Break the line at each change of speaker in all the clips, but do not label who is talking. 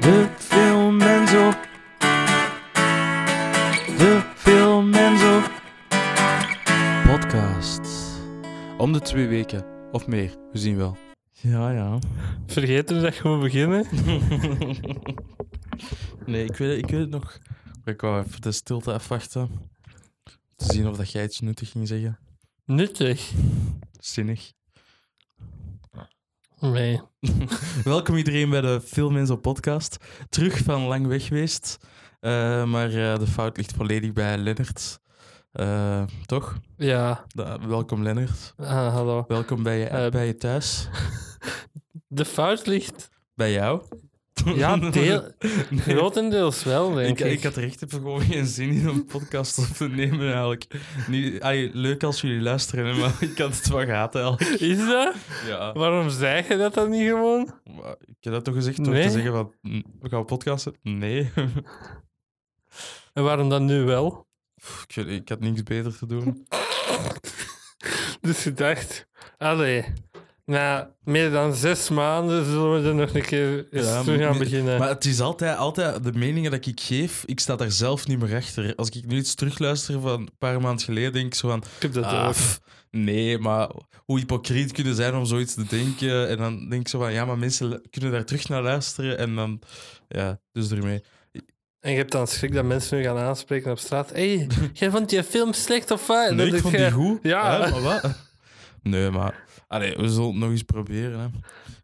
De filmmens op. De filmmens op. Podcast. Om de twee weken of meer, we zien wel.
Ja, ja.
Vergeten dat we beginnen.
Nee, ik weet, ik weet het nog. Ik wou even de stilte afwachten. Te zien of dat jij iets nuttig ging zeggen.
Nuttig.
Zinnig.
Nee.
Welkom iedereen bij de Filminzo podcast. Terug van lang weg geweest. Eh, maar eh, de fout ligt volledig bij Lennart. Eh, toch?
Ja,
Da- welkom Lennart.
ah, hallo.
Welkom bij je,
Eh,
bij je thuis.
De fout ligt.
Bij jou.
Ja, deel,
Nee.
grotendeels wel, denk
Ik,
ik.
ik had er echt even gewoon geen zin in om een podcast op te nemen eigenlijk. Nu, ai, leuk als jullie luisteren, hè, maar ik had het wel gehad eigenlijk.
Is dat?
Ja.
Waarom zei je dat dan niet gewoon?
Maar ik heb dat toch gezegd door te
Nee.
zeggen van, "Mm, we gaan podcasten? Nee.
En waarom dan nu wel?
Pff, ik, weet- ik had niks beter te doen.
Dus ik dacht, allee, na meer dan zes maanden zullen we er nog een keer eens
Ja,
terug
nee,
aan beginnen.
Maar het is altijd, altijd de meningen dat ik geef, ik sta daar zelf niet meer achter. Als ik nu iets terugluister van een paar maanden geleden, denk ik zo van,
ik heb dat
ah,
ook.
pff, nee, maar hoe hypocriet kunnen zijn om zoiets te denken. En dan denk ik zo van, ja, maar mensen lu- kunnen daar terug naar luisteren. En dan, ja, dus ermee.
En je hebt dan schrik dat mensen nu gaan aanspreken op straat. Hé, hey, jij vond je film slecht of wat?
Nee,
Dat
ik vond die
jij-
goed.
Ja.
Hè, maar wat? Nee, maar... Allee, we zullen het nog eens proberen, hè.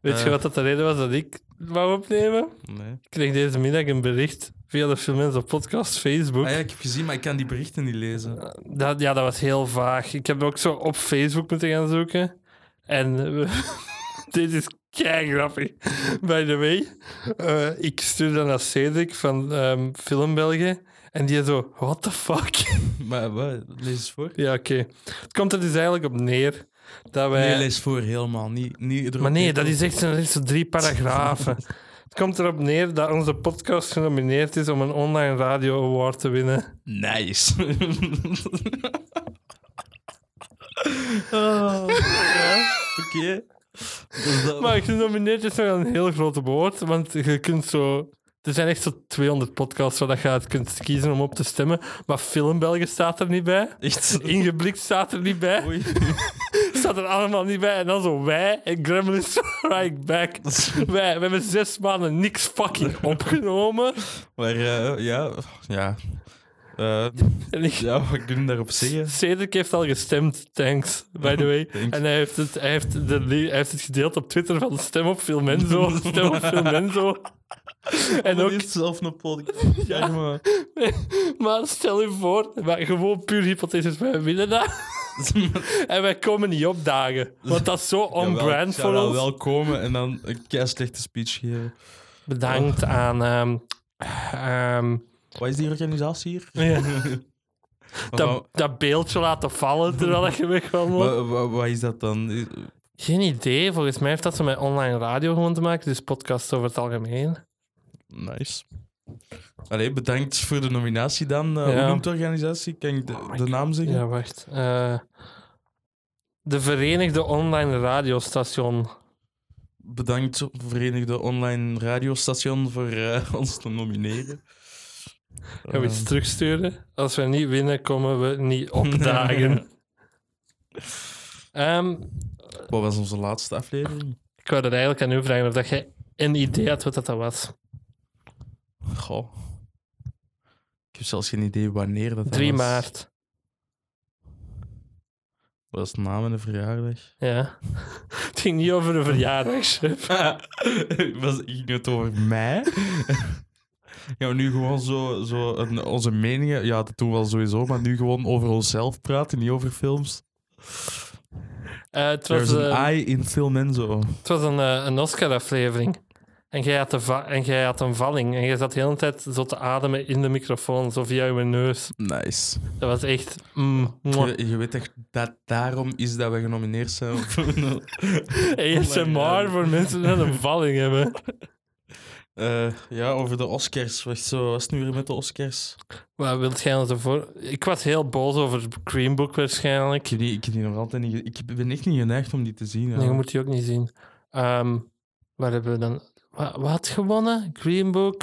Weet
Eh.
je wat dat de reden was dat ik wou opnemen?
Nee.
Ik kreeg deze middag een bericht via de Filmens op podcast Facebook.
Ah ja, ik heb gezien, maar ik kan die berichten niet lezen.
dat, ja, dat was heel vaag. Ik heb ook zo op Facebook moeten gaan zoeken. En we- dit is kei grappig. By the way, eh, ik stuurde dat naar Cedric van ehm Film België. En die zo, what the fuck?
Maar wat? Lees eens voor.
ja, oké. Het komt er dus eigenlijk op neer dat wij...
Nee, lees voor helemaal. Niet, niet erop
Maar nee,
neer-
dat is echt zo'n echt zo drie paragrafen. Het komt erop neer dat onze podcast genomineerd is om een online radio award te winnen.
Nice. oh, ja, Oké. Dus dat-
Maar genomineerd is nog een heel groot woord, want je kunt zo... Er zijn echt zo 200 podcasts waar dat je uit kunt kiezen om op te stemmen, maar Filmbelgen staat er niet bij.
Echt?
Ingeblikt staat er niet bij.
Oei.
Staat er allemaal niet bij. En dan zo wij en Gremlins Strike Back. Wij, we hebben zes maanden niks fucking opgenomen.
Maar eh, ja... Ja. Eh,
En ik,
ja, wat kunnen we daarop zeggen?
Cedric heeft al gestemd, thanks, by the way.
Thanks.
En hij heeft, het, hij, heeft de, li- hij heeft het gedeeld op Twitter van stem op Filmenzo, stem op Filmenzo. En
Maar
ook,
die heeft zelf een podcast. Ja, maar...
maar stel je voor, maar gewoon puur hypothetisch, wij willen dat. En wij komen niet opdagen, want dat is zo
Jawel, ik
on-brand
zou
voor
dan
ons.
wel komen en dan een kei slechte speech geven.
Bedankt aan... ehm, ehm,
Wat is die organisatie hier?
dat, dat beeldje laten vallen terwijl dat je weg wil.
Wa- wa- Wat is dat dan? Is-
Geen idee, volgens mij heeft dat zo met online radio gewoon te maken, dus podcasts over het algemeen.
Nice. Allee, bedankt voor de nominatie dan. Eh, Hoe
Ja.
noemt de organisatie? Kan ik de, de naam zeggen?
Ja, wacht. Eh, de Verenigde Online Radiostation.
Bedankt, Verenigde Online Radiostation, voor eh, ons te nomineren.
Gaan we
Eh,
iets terugsturen? Als we niet winnen, komen we niet opdagen. Ehm,
wat was onze laatste aflevering?
ik wou dat eigenlijk aan u vragen of dat jij een idee had wat dat dan was.
Goh. Ik heb zelfs geen idee wanneer dat
3
was.
maart.
Dat was na mijn verjaardag.
Ja. Het ging niet over een verjaardagschef.
Was, ging het over mij? Gaan we nu gewoon zo, zo een- onze meningen... Ja, dat doen we wel sowieso, maar nu gewoon over onszelf praten, niet over films.
Eh, het,
Er
was,
is een
eh,
eye in film en zo.
het was een, eh, een Oscar-aflevering. En jij, had de va- en jij had een valling. En jij zat de hele tijd zo te ademen in de microfoon, zo via je neus.
Nice.
Dat was echt... mm, mwah.
Je, je weet echt dat daarom is dat we genomineerd zijn. Oh
ASMR voor mensen die een valling hebben.
Eh, ja, over de Oscars. Wacht, zo was het nu weer met de Oscars.
Maar wilt jij ons ervoor... Ik was heel boos over Green Book waarschijnlijk.
Ik heb die, ik heb die nog altijd niet... ge- Ik ben echt niet geneigd om die te zien. ja.
Nee, je moet die ook niet zien. Ehm, waar hebben we dan... wa- wat had gewonnen? Green Book.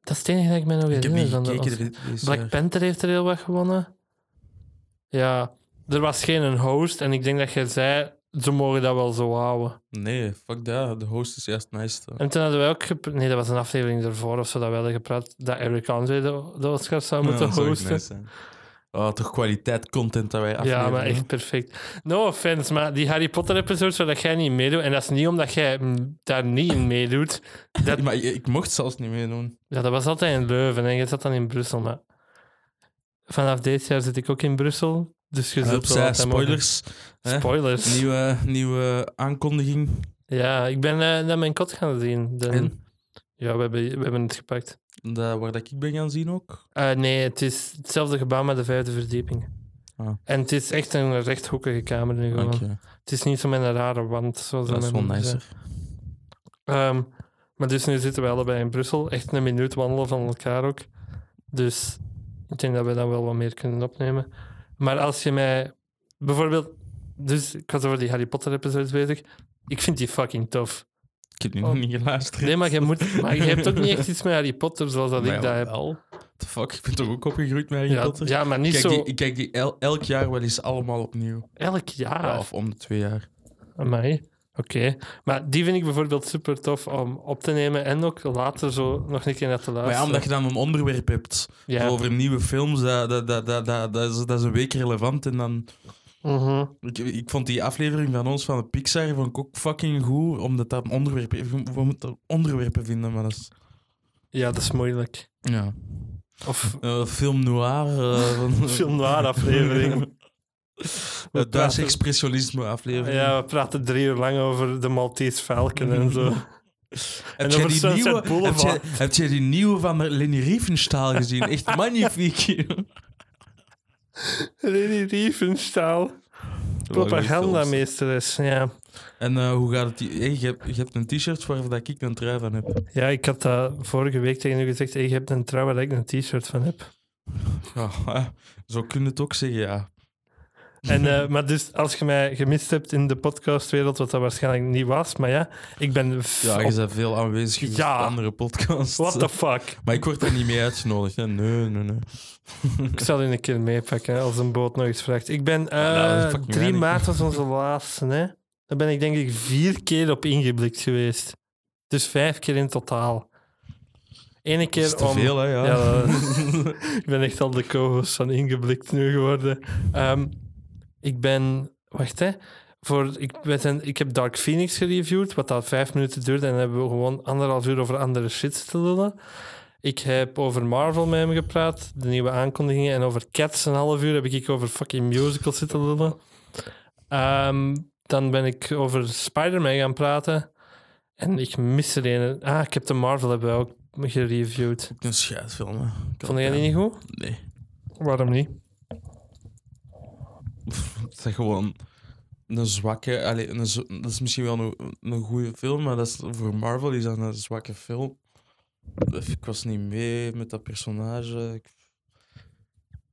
Dat is het enige dat ik mij nog
Ik heb
herinner.
niet
van de
gekeken.
Oscar.
dit- dit is, eh,
Black Panther heeft er heel wat gewonnen. Ja, er was geen host. En ik denk dat jij zei, ze mogen dat wel zo houden.
Nee, fuck dat. De host is juist nice. hè.
En toen hadden we ook... gep- Nee, dat was een aflevering ervoor of zo, dat we hadden gepraat dat Eric Andre de, de Oscars zou
Ja,
moeten
dat zou ook
hosten.
nice zijn. Oh, toch kwaliteit content dat wij afleveren.
ja, maar
hè.
echt perfect. No offense, maar die Harry Potter-episodes waar dat jij niet meedoet, en dat is niet omdat jij mm, daar niet in meedoet. dat-
Maar ik ik mocht zelfs niet meedoen.
Ja, dat was altijd in Leuven en je zat dan in Brussel, maar... Vanaf dit jaar zit ik ook in Brussel, dus je zult wel
Opzij,
altijd mogen-
Ah, spoilers. hè?
Spoilers.
Nieuwe, nieuwe aankondiging.
Ja, ik ben eh, naar mijn kot gaan zien. De-
En
Ja, we hebben, we hebben het gepakt.
dat, waar dat ik ben gaan zien ook.
Eh, nee, het is hetzelfde gebouw, maar de vijfde verdieping.
Ah.
En het is echt een rechthoekige kamer nu gewoon.
Dank
Het is niet zo met een rare wand. Zoals
Dat is
mijn
wel
moeder
nicer.
zei. Ehm, maar dus nu zitten we allebei in Brussel. Echt een minuut wandelen van elkaar ook. Dus ik denk dat we dan wel wat meer kunnen opnemen. Maar als je mij... Bijvoorbeeld... Dus ik was over die Harry Potter-episodes bezig. Ik vind die fucking tof.
Ik heb nu
Oh.
nog niet geluisterd.
Nee, maar je, moet, maar je hebt ook niet echt iets met Harry Potter zoals dat ik dat heb.
Al. The fuck, ik ben toch ook opgegroeid met Harry
Ja,
Potter?
ja, maar niet
Ik kijk,
zo
die, ik kijk die el- elk jaar wel eens allemaal opnieuw.
elk jaar.
Ja, of om de twee jaar.
Amai. Oké. Maar die vind ik bijvoorbeeld super tof om op te nemen en ook later zo nog een keer naar te
Maar ja,
luisteren.
omdat je dan een onderwerp hebt
Ja.
over nieuwe films, dat, dat, dat, dat, dat, dat is, dat is een week relevant. En dan,
Mhm.
ik, ik vond die aflevering van ons van de Pixar vond ik ook fucking goed, omdat dat een onderwerp heeft. We we moeten onderwerpen vinden, maar dat is...
Ja, dat is moeilijk.
Ja.
Of
Eh, film noir. eh, van,
film noir aflevering.
Het Duitse expressionisme aflevering.
Ja, we praten drie uur lang over de Maltese Falcon en zo.
Heb
En
jij
over
die
Sunset
nieuwe, heb jij,
Boulevard.
heb jij die nieuwe van Lenny Riefenstahl gezien? Echt magnifiek.
Leni Riefenstahl. Propagandameesteres, ja.
En eh, hoe gaat het? hier? Hey, je, hebt, je hebt een t-shirt waar dat ik een trui van heb.
Ja, ik had dat vorige week tegen u gezegd. hey, je hebt een trouw waar ik een t-shirt van heb.
Ja, hè. Ah, eh, zo kun je het ook zeggen, ja.
En, eh, maar dus als je mij gemist hebt in de podcastwereld, wat dat waarschijnlijk niet was, maar ja, ik ben. f-
Ja, je
op-
bent veel aanwezig in
Ja.
andere podcasts.
What the fuck?
Maar ik word er niet mee uitgenodigd. Hè. Nee, nee, nee.
Ik zal u een keer meepakken hè, als een boot nog eens vraagt. Ik ben. eh,
nou, dat is fucking
3
weinig.
maart was onze laatste, hè? Daar ben ik denk ik vier keer op ingeblikt geweest. Dus vijf keer in totaal. Ene
Dat is
keer
te
om.
veel, hè, ja.
Ja, dat- ik ben echt al de co-host van Ingeblikt nu geworden. Ehm, ik ben... Wacht, hè. Voor, ik, we zijn, ik heb Dark Phoenix gereviewd, wat dat vijf minuten duurde. En dan hebben we gewoon anderhalf uur over andere shit te lullen. Ik heb over Marvel met hem gepraat, de nieuwe aankondigingen. En over Cats een half uur heb ik over fucking musicals zitten lullen. Ehm, dan ben ik over Spider-Man gaan praten. En ik mis er een. Ah, ik heb de Marvel hebben we ook gereviewd.
Een scheidfilm, hè.
Vond jij die niet goed?
Nee.
Waarom niet?
Het is gewoon een zwakke. Allee, een, z- dat is misschien wel een, een goede film, maar dat is, voor Marvel is dat een zwakke film. Ik was niet mee met dat personage. Ik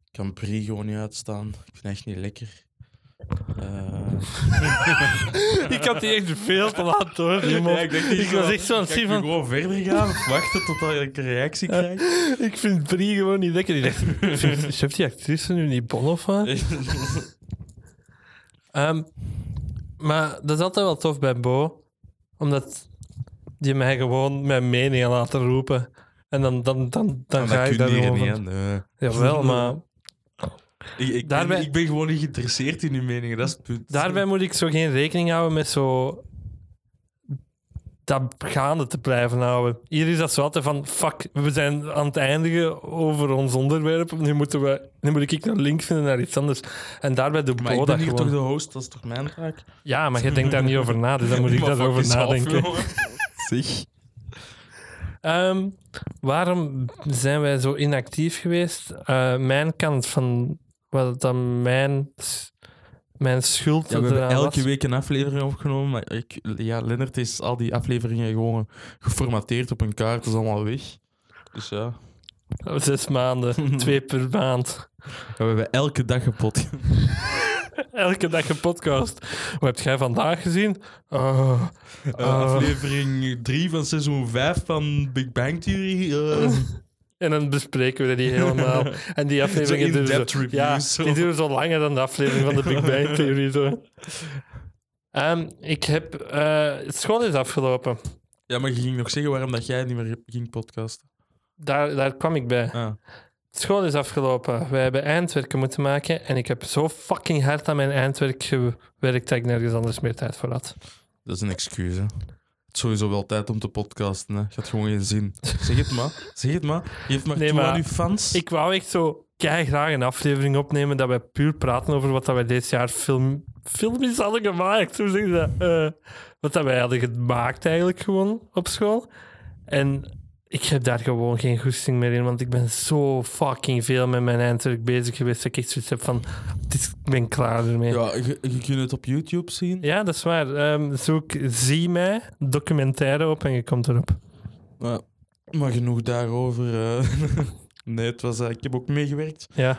ik kan Brie gewoon niet uitstaan. Ik vind het echt niet lekker. Eh,
Ik had die echt veel te laat door. die mop.
ja, ik denk niet
ik
zo-
was echt zo aan het
ga ik
zien
nu
van...
gewoon verder gaan of wachten tot ik een reactie krijg.
Ik vind Brie gewoon niet lekker. Die dacht, "Vindt- heeft die actrice nu niet bon of wat? Ehm, maar dat is altijd wel tof bij Bo. Omdat die mij gewoon mijn mening laten roepen. En dan, dan, dan, dan
Maar
ga ik
Ah, kun
daar
je hier
gewoon
niet,
van-
hè. Nee.
Jawel, maar
Ik, ik,
Daarbij-
ben, ik ben gewoon niet geïnteresseerd in uw meningen, dat is het punt.
daarbij moet ik zo geen rekening houden met zo... Dat gaande te blijven houden. Hier is dat zo altijd van, fuck, we zijn aan het eindigen over ons onderwerp. Nu, moeten we, nu moet ik een link vinden naar iets anders. En daarbij doet
Maar
Bo
ik
Oh, dat
ben hier
gewoon.
toch de host, dat is toch mijn taak?
Ja, maar jij denkt daar niet over na, dus dan moet ik
Maar
daarover
fuck jezelf,
nadenken.
jongen. Zeg.
Ehm, waarom zijn wij zo inactief geweest? Eh, mijn kant van wat dan mijn, s- mijn schuld
Ja, we hebben
eraan
elke
was.
week een aflevering opgenomen, maar ik, ja, Lennart is al die afleveringen gewoon geformateerd op een kaart, dat is allemaal weg. Dus ja.
Zes maanden, twee per maand.
Ja, we hebben elke dag gepot.
Elke dag een podcast. Wat heb jij vandaag gezien? Ah,
Eh,
ah.
aflevering 3 van seizoen 5 van Big Bang Theory. eh,
En dan bespreken we die helemaal. En die afleveringen
Zo
duren
in-depth
zo,
reviews,
ja,
zo.
die duren zo langer dan de aflevering van de Big Bang Theory. Zo. Ehm, ik heb... eh, school is afgelopen.
ja, maar je ging nog zeggen waarom dat jij niet meer ging podcasten.
Daar, daar kwam ik bij.
Ah.
School is afgelopen. We hebben eindwerken moeten maken. En ik heb zo fucking hard aan mijn eindwerk gewerkt dat ik nergens anders meer tijd voor had.
Dat is een excuus, hè. Het is sowieso wel tijd om te podcasten, hè. Je had gewoon geen zin. Zeg het maar. Zeg het maar. Je hebt maar
Nee,
toe
maar
aan je fans.
Ik wou echt zo kei graag een aflevering opnemen dat wij puur praten over wat dat wij dit jaar film, films hadden gemaakt. Hoe zeg je dat? Eh, wat dat wij hadden gemaakt eigenlijk gewoon op school. En ik heb daar gewoon geen goesting meer in, want ik ben zo fucking veel met mijn eindwerk bezig geweest dat ik echt zoiets heb van, het is, ik ben klaar ermee. Ja,
Ja, je, je kunt het op YouTube zien.
dat is waar. Ehm, zoek Zie mij, documentaire op en je komt erop.
Maar, maar genoeg daarover. eh. nee, het was, eh, ik heb ook meegewerkt.
Ja,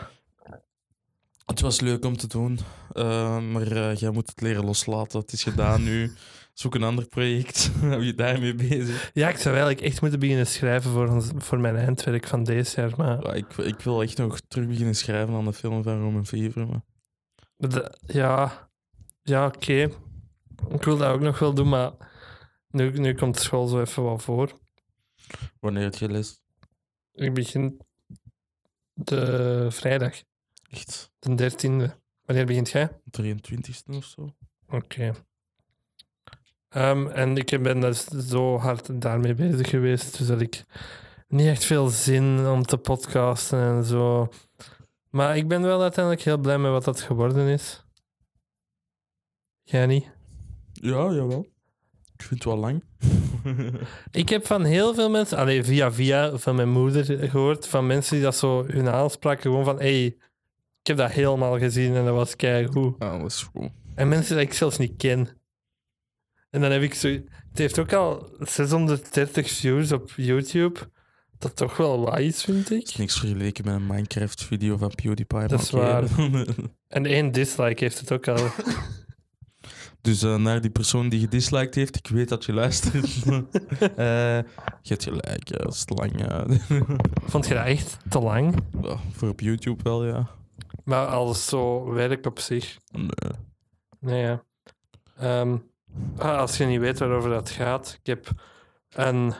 Het was leuk om te doen. Eh, maar eh, jij moet het leren loslaten. Het is gedaan nu. Zoek een ander project. Hou je daarmee bezig?
ja ik zou eigenlijk echt moeten beginnen schrijven voor, ons, voor mijn eindwerk van deze jaar, maar...
Ja, ik, ik wil echt nog terug beginnen schrijven aan de film van Roman Fever. Maar...
De- ja, ja oké. Ik wil dat ook nog wel doen, maar nu, nu komt school zo even wat voor.
Wanneer het je les?
Ik begin de vrijdag,
Echt
de 13e. Wanneer begint jij?
23e of zo?
Oké. Ehm, en ik ben daar zo hard daarmee bezig geweest, dus dat ik niet echt veel zin om te podcasten en zo. Maar ik ben wel uiteindelijk heel blij met wat dat geworden is. Jij niet?
Ja, jawel. Ik vind het wel lang.
Ik heb van heel veel mensen, alleen via via van mijn moeder gehoord, van mensen die dat zo hun aanspraken gewoon van, hey, ik heb dat helemaal gezien en dat was keigoed.
Ah, dat is goed.
En mensen die ik zelfs niet ken. En dan heb ik zo, het heeft ook al 630 views op YouTube, dat toch wel wat is, vind
Het is
ik.
niks vergeleken met een Minecraft-video van PewDiePie.
Dat is
maar oké.
En één dislike heeft het ook al.
dus eh, naar die persoon die gedisliked heeft, ik weet dat je luistert. Eh, je hebt gelijk, ja, dat is lang. ja.
Vond je dat echt te lang?
Ja, voor op YouTube wel, ja.
Maar als zo werk op zich.
Nee.
Nee, ja. Ehm, ah, als je niet weet waarover dat gaat, ik heb een.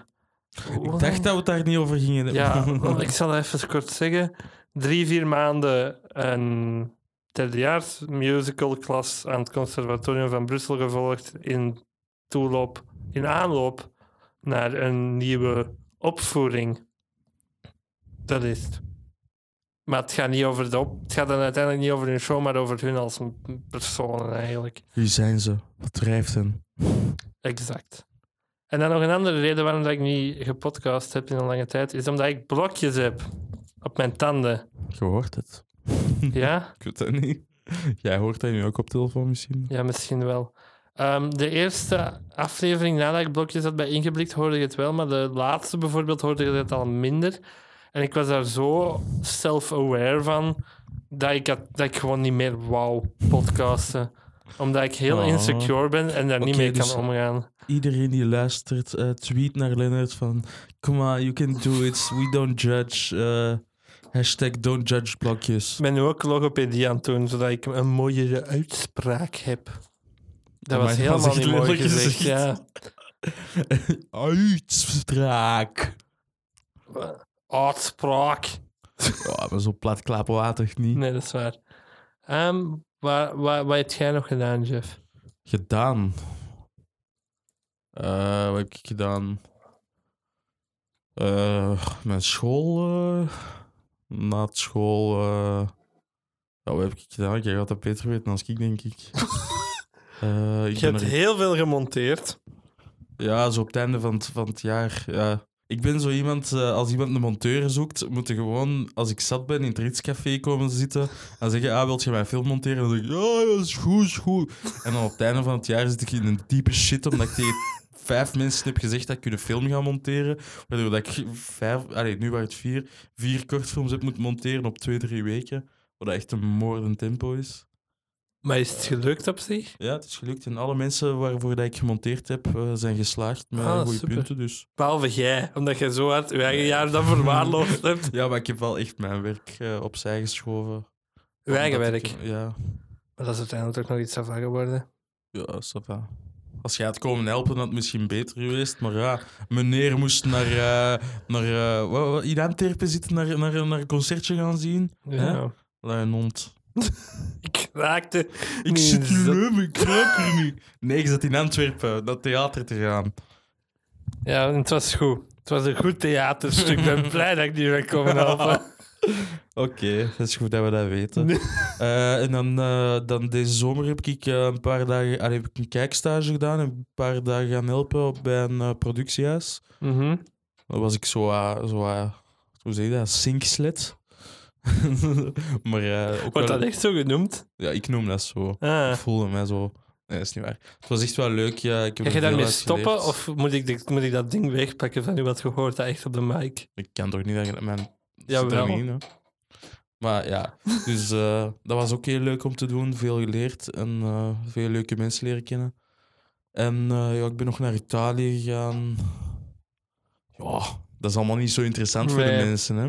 Ik dacht dat we het daar niet over gingen.
Ja, want ik zal even kort zeggen. Drie, vier maanden een derdejaars musicalklas aan het Conservatorium van Brussel gevolgd in toeloop, in aanloop naar een nieuwe opvoering. Dat is het. Maar het gaat, niet over de op- het gaat dan uiteindelijk niet over hun show, maar over hun als m- personen eigenlijk.
Wie zijn ze? Wat drijft hen?
Exact. En dan nog een andere reden waarom dat ik niet gepodcast heb in een lange tijd, is omdat ik blokjes heb op mijn tanden.
Je hoort het.
Ja?
Ik weet het niet. Jij hoort dat nu ook op telefoon misschien.
Ja, misschien wel. Ehm, de eerste aflevering nadat ik blokjes had bij ingeblikt, hoorde je het wel, maar de laatste bijvoorbeeld hoorde je het al minder. En ik was daar zo self-aware van dat ik, had- dat ik gewoon niet meer wou podcasten. Omdat ik heel
Oh.
insecure ben en daar niet
Oké,
mee kan
dus-
omgaan.
Iedereen die luistert, eh, tweet naar Leonard van... Come on, you can do it. We don't judge. eh, hashtag don't judge blokjes.
Ik ben nu ook logopedie aan het doen, zodat ik een mooiere uitspraak heb.
Maar
Dat was
je
helemaal
was
niet
echt
mooi
letterlijk
gezegd.
gezegd.
Ja.
Uitspraak.
Uitspraak.
Ja, Oh, maar zo plat klaapwaterdig niet.
Nee, dat is waar. Ehm, wa- wa- wat heb jij nog gedaan, Jeff?
Gedaan. Eh, wat heb ik gedaan? Eh, mijn school. eh, na het school. eh, ja, wat heb ik gedaan? Jij gaat dat beter weten dan ik, denk ik. Eh, ik
Je
ben
hebt
er-
heel veel gemonteerd.
Ja, zo op het einde van het, van het jaar. Ja. Ik ben zo iemand, eh, als iemand een monteur zoekt, moet je gewoon, als ik zat ben, in het Ritscafé komen zitten en zeggen, ah, wil je mijn film monteren? Dan zeg ik, ja, ja, is goed, is goed. En dan op het einde van het jaar zit ik in een diepe shit, omdat ik tegen vijf mensen heb gezegd dat ik een film ga monteren, waardoor dat ik vijf, allee, nu waren het vier, vier kortfilms heb moeten monteren op twee, drie weken, wat echt een moordend tempo is.
Maar is het gelukt op zich?
Ja, het is gelukt. En alle mensen waarvoor dat ik gemonteerd heb, eh, zijn geslaagd met
Ah,
goede
super.
punten. Dus.
Behalve jij, omdat jij zo hard je eigen jaar dan verwaarloosd hebt.
Ja, maar ik heb wel echt mijn werk eh, opzij geschoven.
Je eigen
Omdat
werk.
ik- ja,
Maar dat is uiteindelijk ook nog iets af geworden.
ja, ça va. Als jij had komen helpen, had het misschien beter geweest. Maar ja, meneer moest naar, eh naar eh, wa- wa- hier aan Terpen zitten, naar, naar, naar een concertje gaan zien.
Ja.
Hè? Lui hond.
Ik raakte.
Ik
Nee,
zit hier
dat-
leuk, ik raak er niet. Nee, ik zat in Antwerpen, dat theater te gaan.
Ja, en het was goed. Het was een goed theaterstuk. Ik ben blij dat ik die ben komen helpen.
Oké, dat is goed dat we dat weten. Eh, en dan, eh, dan deze zomer heb ik eh, een paar dagen... allee, heb ik een kijkstage gedaan en een paar dagen gaan helpen op, bij een eh, productiehuis.
Mhm.
Dan was ik zo... eh, zo eh, hoe zeg je dat? Sinkslet. maar eh, ook
Wordt
wel-
dat echt zo genoemd?
Ja, ik noem dat zo. Ik
Ah.
voelde mij zo... Nee, dat is niet waar. Het was echt wel leuk. Ja, ik heb er
Ga je
veel
daarmee
uit
stoppen
geleerd.
of moet ik, dit- moet ik dat ding wegpakken van u wat gehoord dat echt op de mic?
Ik kan toch niet dat je dat mijn...
Jawel.
zit er niet in, hè? Maar ja, dus eh, dat was ook heel leuk om te doen. Veel geleerd en eh, veel leuke mensen leren kennen. En eh, ja, ik ben nog naar Italië gegaan. Ja, dat is allemaal niet zo interessant voor de
Nee.
mensen, hè.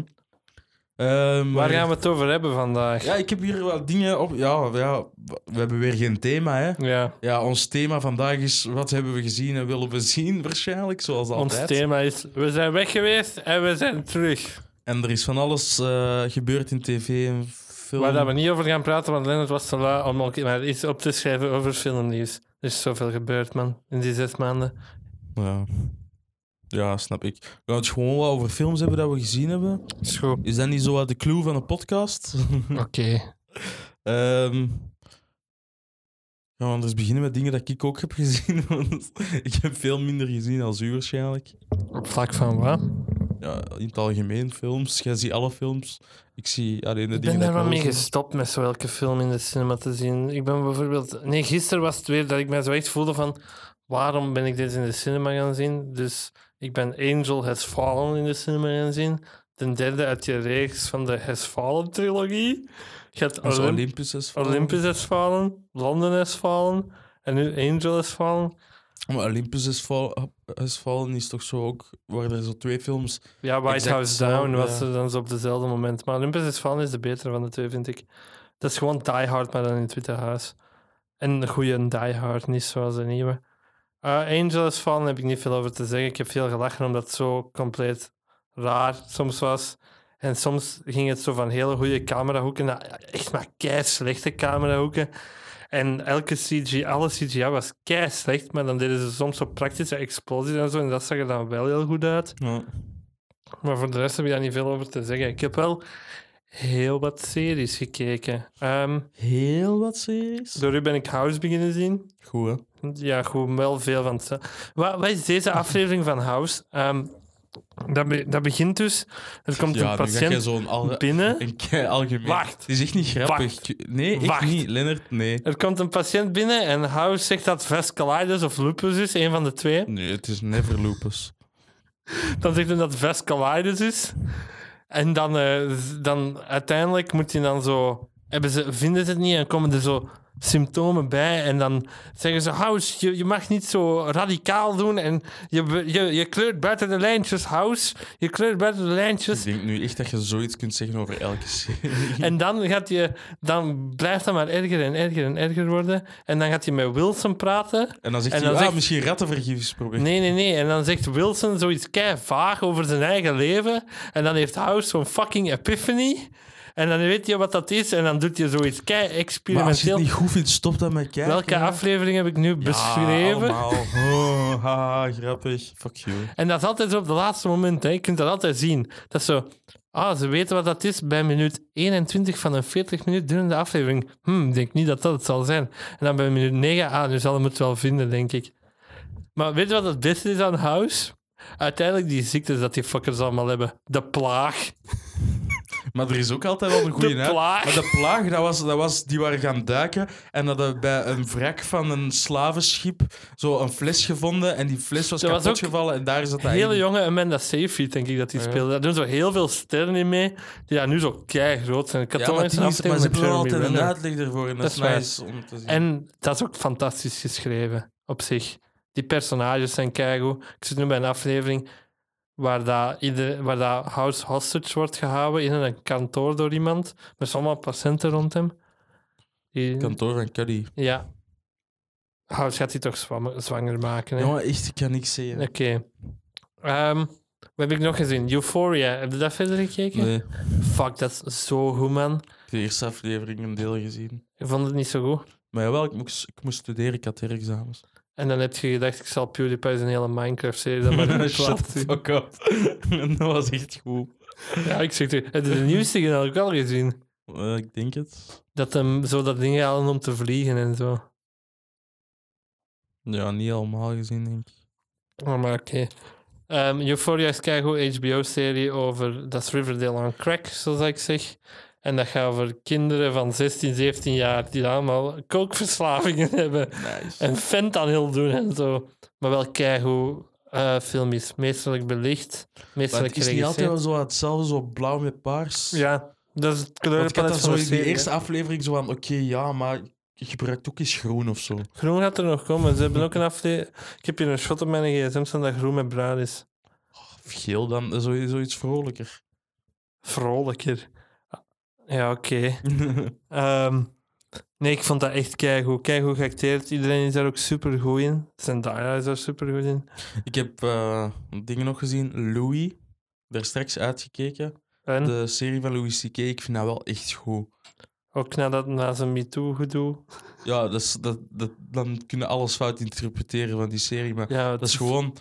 Ehm,
Waar gaan we het over hebben vandaag?
Ja, ik heb hier wel dingen op... Ja, ja, we hebben weer geen thema, hè.
Ja.
Ja, ons thema vandaag is wat hebben we gezien en willen we zien, waarschijnlijk, zoals altijd.
Ons thema is: we zijn weg geweest en we zijn terug.
En er is van alles eh, gebeurd in tv en film.
Waar dat we niet over gaan praten, want Lennart was te lui om ook maar iets op te schrijven over filmnieuws. Er is zoveel gebeurd, man, in die zes maanden.
Ja. ja, snap ik. We gaan het gewoon wat over films hebben dat we gezien hebben.
Is goed.
Is dat niet zo wat de clue van de podcast?
Oké.
Ehm gaan we anders beginnen met dingen dat ik ook heb gezien? Want ik heb veel minder gezien als u waarschijnlijk.
Op vlak van wat?
Ja, in het algemeen films. Jij ziet alle films. Ik zie alleen de
Ik ben
dingen
daar wel
ik
mee
wel zie.
gestopt met zo elke film in de cinema te zien. Ik ben bijvoorbeeld... Nee, gisteren was het weer dat ik mij zo echt voelde van... Waarom ben ik dit in de cinema gaan zien? Dus ik ben Angel Has Fallen in de cinema gaan zien. De derde uit je reeks van de Has Fallen trilogie. Je had
Dat is
Olymp-
Olympus is vallen.
Olympus Has Fallen, London Has Fallen en nu Angel Has Fallen.
Maar Olympus is, val, is vallen is toch zo ook... Waar er zo twee films...
Ja, White
Exact
House
hetzelfde,
Down was
ja.
er dan zo op dezelfde moment. Maar Olympus is Fallen is de betere van de twee, vind ik. Dat is gewoon Die Hard, maar dan in het Witte Huis. En een goede Die Hard, niet zoals de nieuwe. Eh Angel is Fallen heb ik niet veel over te zeggen. Ik heb veel gelachen omdat het zo compleet raar soms was. En soms ging het zo van hele goede camerahoeken naar echt maar kei slechte camerahoeken. En elke CGI, alle CGI was kei slecht, maar dan deden ze soms zo praktische explosies en zo. En dat zag er dan wel heel goed uit.
Ja.
Maar voor de rest heb ik daar niet veel over te zeggen. Ik heb wel heel wat series gekeken. Ehm,
Heel wat series.
door u ben ik House beginnen zien.
Goed, hè?
Ja, gewoon wel veel van het. Wat, wat is deze aflevering van House? Ehm, dat, be- dat begint dus. Er komt
Ja,
een
nu ga jij
patiënt
zo'n al
binnen.
een kei algemeen...
Wacht.
Het is echt niet grappig. Nee, echt
Wacht.
niet. Lennart, nee.
Er komt een patiënt binnen en House zegt dat vasculitis of lupus is, een van de twee.
Nee, het is never lupus.
Dan zegt hij dat vasculitis is. En dan, eh, z- dan uiteindelijk moet hij dan zo... Hebben ze, vinden ze het niet en komen er zo symptomen bij. En dan zeggen ze, House, je, je mag niet zo radicaal doen. En je, be- je, je kleurt buiten de lijntjes, House. Je kleurt buiten de lijntjes.
Ik denk nu echt dat je zoiets kunt zeggen over elke serie.
En dan, gaat je, dan blijft dat maar erger en erger en erger worden. En dan gaat hij met Wilson praten.
En dan zegt
En
hij,
dan
ah,
zegt-
misschien rattenvergiftiging proberen.
Nee, nee, nee. En dan zegt Wilson zoiets kei vaag over zijn eigen leven. En dan heeft House zo'n fucking epiphany. En dan weet je wat dat is. En dan doet je zoiets kei
maar als je
experimenteel.
het niet goed vindt, stop dan met kijken.
Welke
hè.
aflevering heb ik nu
Ja,
beschreven?
allemaal. Oh, haha, grappig. Fuck you.
en dat is altijd zo op de laatste moment. Hè. Je kunt dat altijd zien. Dat is zo. Ah, ze weten wat dat is bij minuut 21 van een 40 minuut durende aflevering. Hm, ik denk niet dat dat het zal zijn. En dan bij minuut 9, ah, nu zal hem het wel vinden, denk ik. Maar weet je wat het beste is aan House? Uiteindelijk die ziektes dat die fuckers allemaal hebben. De plaag.
Maar er is ook altijd wel een goede naam.
plaag.
Maar de plaag, dat was, dat was, die waren gaan duiken en hadden bij een wrak van een slavenschip zo een fles gevonden. En die fles was
Er was
kapot
ook
gevallen en daar zat
Een
hij
hele
in.
jonge Amanda Seyfried, denk ik, dat die
Ja.
speelde. Daar doen zo heel veel sterren in mee, die daar nu zo kei groot zijn. Ik had
Ja,
toen
maar,
eens
die
een
is, maar
aflevering
ze
met
hebben wel
Jeremy
altijd een
Renner.
uitleg ervoor en dat,
Dat
is
is waar.
nice om te zien.
En dat is ook fantastisch geschreven op zich. Die personages zijn keigoed. Ik zit nu bij een aflevering waar, dat ieder, waar dat House hostage wordt gehouden in een kantoor door iemand met allemaal patiënten rond hem. Die-
kantoor van Cuddy.
ja. House gaat die toch zwam- zwanger maken. hè?
Jongen, echt, ik kan niks zeggen.
Oké. Ehm, wat heb ik nog gezien? Euphoria. Heb je dat verder gekeken?
Nee,
Fuck, dat is zo goed, man.
de eerste aflevering een deel gezien.
Ik vond het niet zo goed.
Maar jawel, ik moest, ik moest studeren, ik had herexamens.
En dan heb je gedacht, ik zal PewDiePie zijn hele Minecraft-serie dan maar in de
Shut
plaats
the
doen.
fuck up. dat was echt goed.
Ja, ik zeg het. Heb je de nieuwste gedaan ook al gezien?
Eh, ik denk het.
Dat hem zo dat ding halen om te vliegen en zo.
Ja, niet allemaal gezien, denk ik.
Oh, maar oké. Ehm, Euphoria is keigoed HBO-serie over... Dat is Riverdale on crack, zoals ik zeg. En dat gaat over kinderen van 16, 17 jaar die allemaal kookverslavingen hebben.
Nice.
En fentanyl doen en zo. Maar wel keigoed eh film is. Meesterlijk belicht.
Maar
Meesterlijk
het is niet altijd
geregisseerd.
wel zo hetzelfde, zo blauw met paars.
Ja, dat is het
Want ik had
kleurenpalet
dat
van
zo
de
in die
serie.
eerste aflevering zo van, oké, ja, maar je gebruikt ook eens groen of zo.
Groen gaat er nog komen. Ze hebben ook een aflevering... Ik heb hier een shot op mijn gsm staan dat groen met bruin is.
Of Oh, geel dan, eh, zo, zoiets vrolijker.
Vrolijker. Ah, Ja, oké. Ehm, nee, ik vond dat echt keigoed. Keigoed geacteerd. Iedereen is daar ook super goed in. Zendaya is daar super goed in.
ik heb eh, dingen nog gezien. Louis, daar straks uitgekeken.
En
De serie van Louis C.K., ik vind dat wel echt goed.
ook nadat na zijn MeToo-gedoe.
Ja, dat is, dat, dat, dan kunnen alles fout interpreteren van die serie, maar
Ja,
dat is gewoon...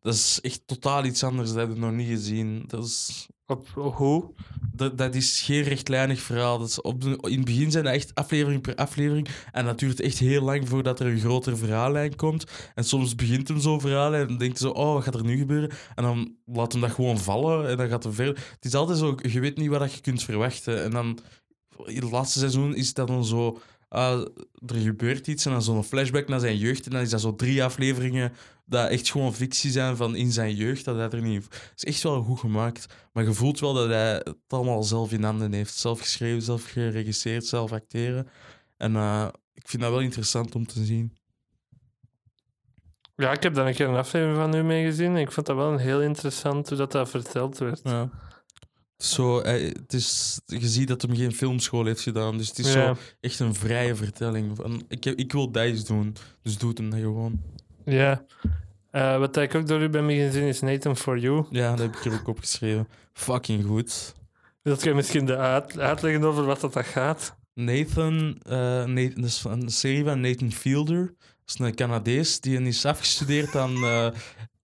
Dat is echt totaal iets anders, dat heb ik nog niet gezien. Dat is
Op, op hoe?
Dat, dat is geen rechtlijnig verhaal. Dat is op de- in het begin zijn dat echt aflevering per aflevering. En dat duurt echt heel lang voordat er een grotere verhaallijn komt. En soms begint hem zo'n verhaallijn en dan denkt hij zo, oh, wat gaat er nu gebeuren? En dan laat hem dat gewoon vallen en dan gaat hij verder. Het is altijd zo, je weet niet wat dat je kunt verwachten. En dan, in het laatste seizoen is dat dan zo, ah, er gebeurt iets en dan zo'n flashback naar zijn jeugd. En dan is dat zo drie afleveringen dat echt gewoon fictie zijn van in zijn jeugd, dat hij er niet... Het is echt wel goed gemaakt. Maar je voelt wel dat hij het allemaal zelf in handen heeft. Zelf geschreven, zelf geregisseerd, zelf acteren. En eh, ik vind dat wel interessant om te zien.
Ja, ik heb daar een keer een aflevering van u mee gezien. Ik vond dat wel een heel interessant hoe dat, dat verteld werd.
Ja. Zo, hij- het is, je ziet dat hij geen filmschool heeft gedaan. Dus het is
ja,
zo echt een vrije vertelling. Van, ik, heb- ik wil dat eens doen, dus doet hem dat gewoon.
ja. Eh, wat ik ook door u ben mee gezien is Nathan for You.
Ja, dat heb ik er ook opgeschreven. Fucking goed.
Dat kan je misschien de uit, uitleggen over wat dat, dat gaat.
Nathan, eh, Nathan, dat is een serie van Nathan Fielder. Dat is een Canadees die is afgestudeerd aan eh,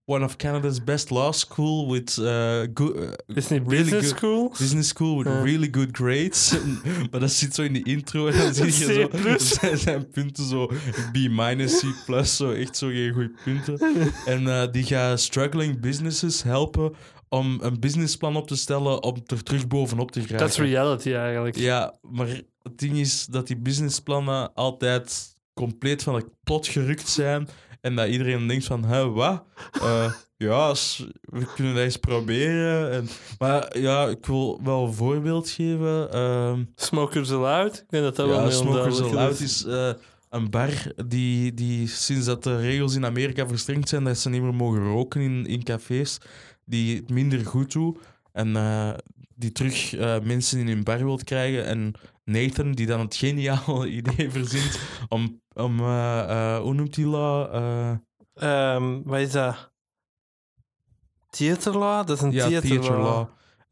one of Canada's best law school with eh, good, eh,
Is het niet
Really
business
good-
school?
business school with
Ja.
really good grades. maar dat zit zo in de intro en dan zie je
C
zo
plus.
zijn, zijn punten zo B minus C plus, zo echt zo geen goede punten. En eh, die gaat struggling businesses helpen om een businessplan op te stellen om er terug bovenop te geraken.
Dat is reality eigenlijk.
Ja, maar het ding is dat die businessplannen altijd compleet van de plot gerukt zijn. En dat iedereen denkt van, hè, wat? Eh, ja, s- we kunnen dat eens proberen. En, maar ja, ik wil wel een voorbeeld geven. Ehm
Smokers Allowed? Ik denk dat dat wel
ja,
heel
Smokers
onduidelijk
Allowed is eh, een bar die, die sinds dat de regels in Amerika verstrengd zijn dat ze niet meer mogen roken in, in cafés, die het minder goed doet en eh, die terug eh, mensen in hun bar wilt krijgen. En Nathan, die dan het geniale idee verzint om, om eh, eh, hoe noemt hij dat? Eh,
Ehm, wat is dat? Theater law? Dat is een
ja,
theater,
theater
law.
law.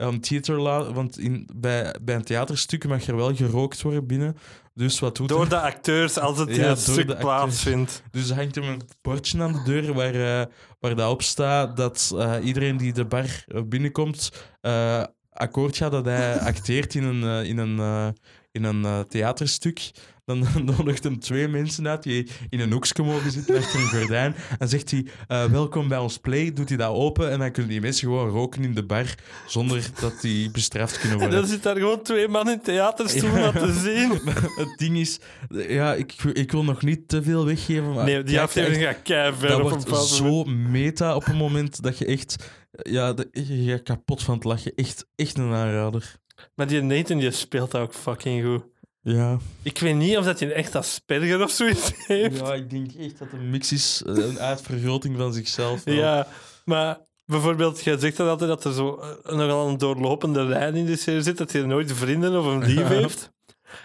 Om theater law, want in, bij, bij een theaterstuk mag er wel gerookt worden binnen. Dus wat doet hij?
Door de acteurs, als het
Ja,
in
door
een
de
stuk
acteurs.
plaatsvindt.
Dus er hangt hem een bordje aan de deur waar, eh, waar dat op staat dat eh, iedereen die de bar eh, binnenkomt eh, akkoord gaat dat hij acteert in een, eh, in een, eh, in een eh, theaterstuk. Dan nodigt hem twee mensen uit die in een hoekje mogen zitten achter een gordijn. En zegt hij, eh, welkom bij ons play. Doet hij dat open en dan kunnen die mensen gewoon roken in de bar zonder dat die bestraft kunnen
En
worden.
dan zit daar gewoon twee man in theaterstoelen aan te zien.
Het ding is, eh, ja, ik, ik wil nog niet te veel weggeven. Maar
Nee, die
kijk, echt,
aflevering gaat kei ver
dat
op een bepaald
wordt
moment.
zo meta op een moment dat je echt... Ja, de- je gaat kapot van het lachen. Echt, echt een aanrader.
Maar die Nathan die speelt dat ook fucking goed.
Ja.
Ik weet niet of dat hij echt Asperger of zoiets heeft.
ja, ik denk echt dat het een mix is. eh, Een uitvergroting van zichzelf. wel.
Ja, maar bijvoorbeeld, jij zegt dan altijd dat er zo eh, nogal een doorlopende lijn in de serie zit, dat hij nooit vrienden of een lief heeft.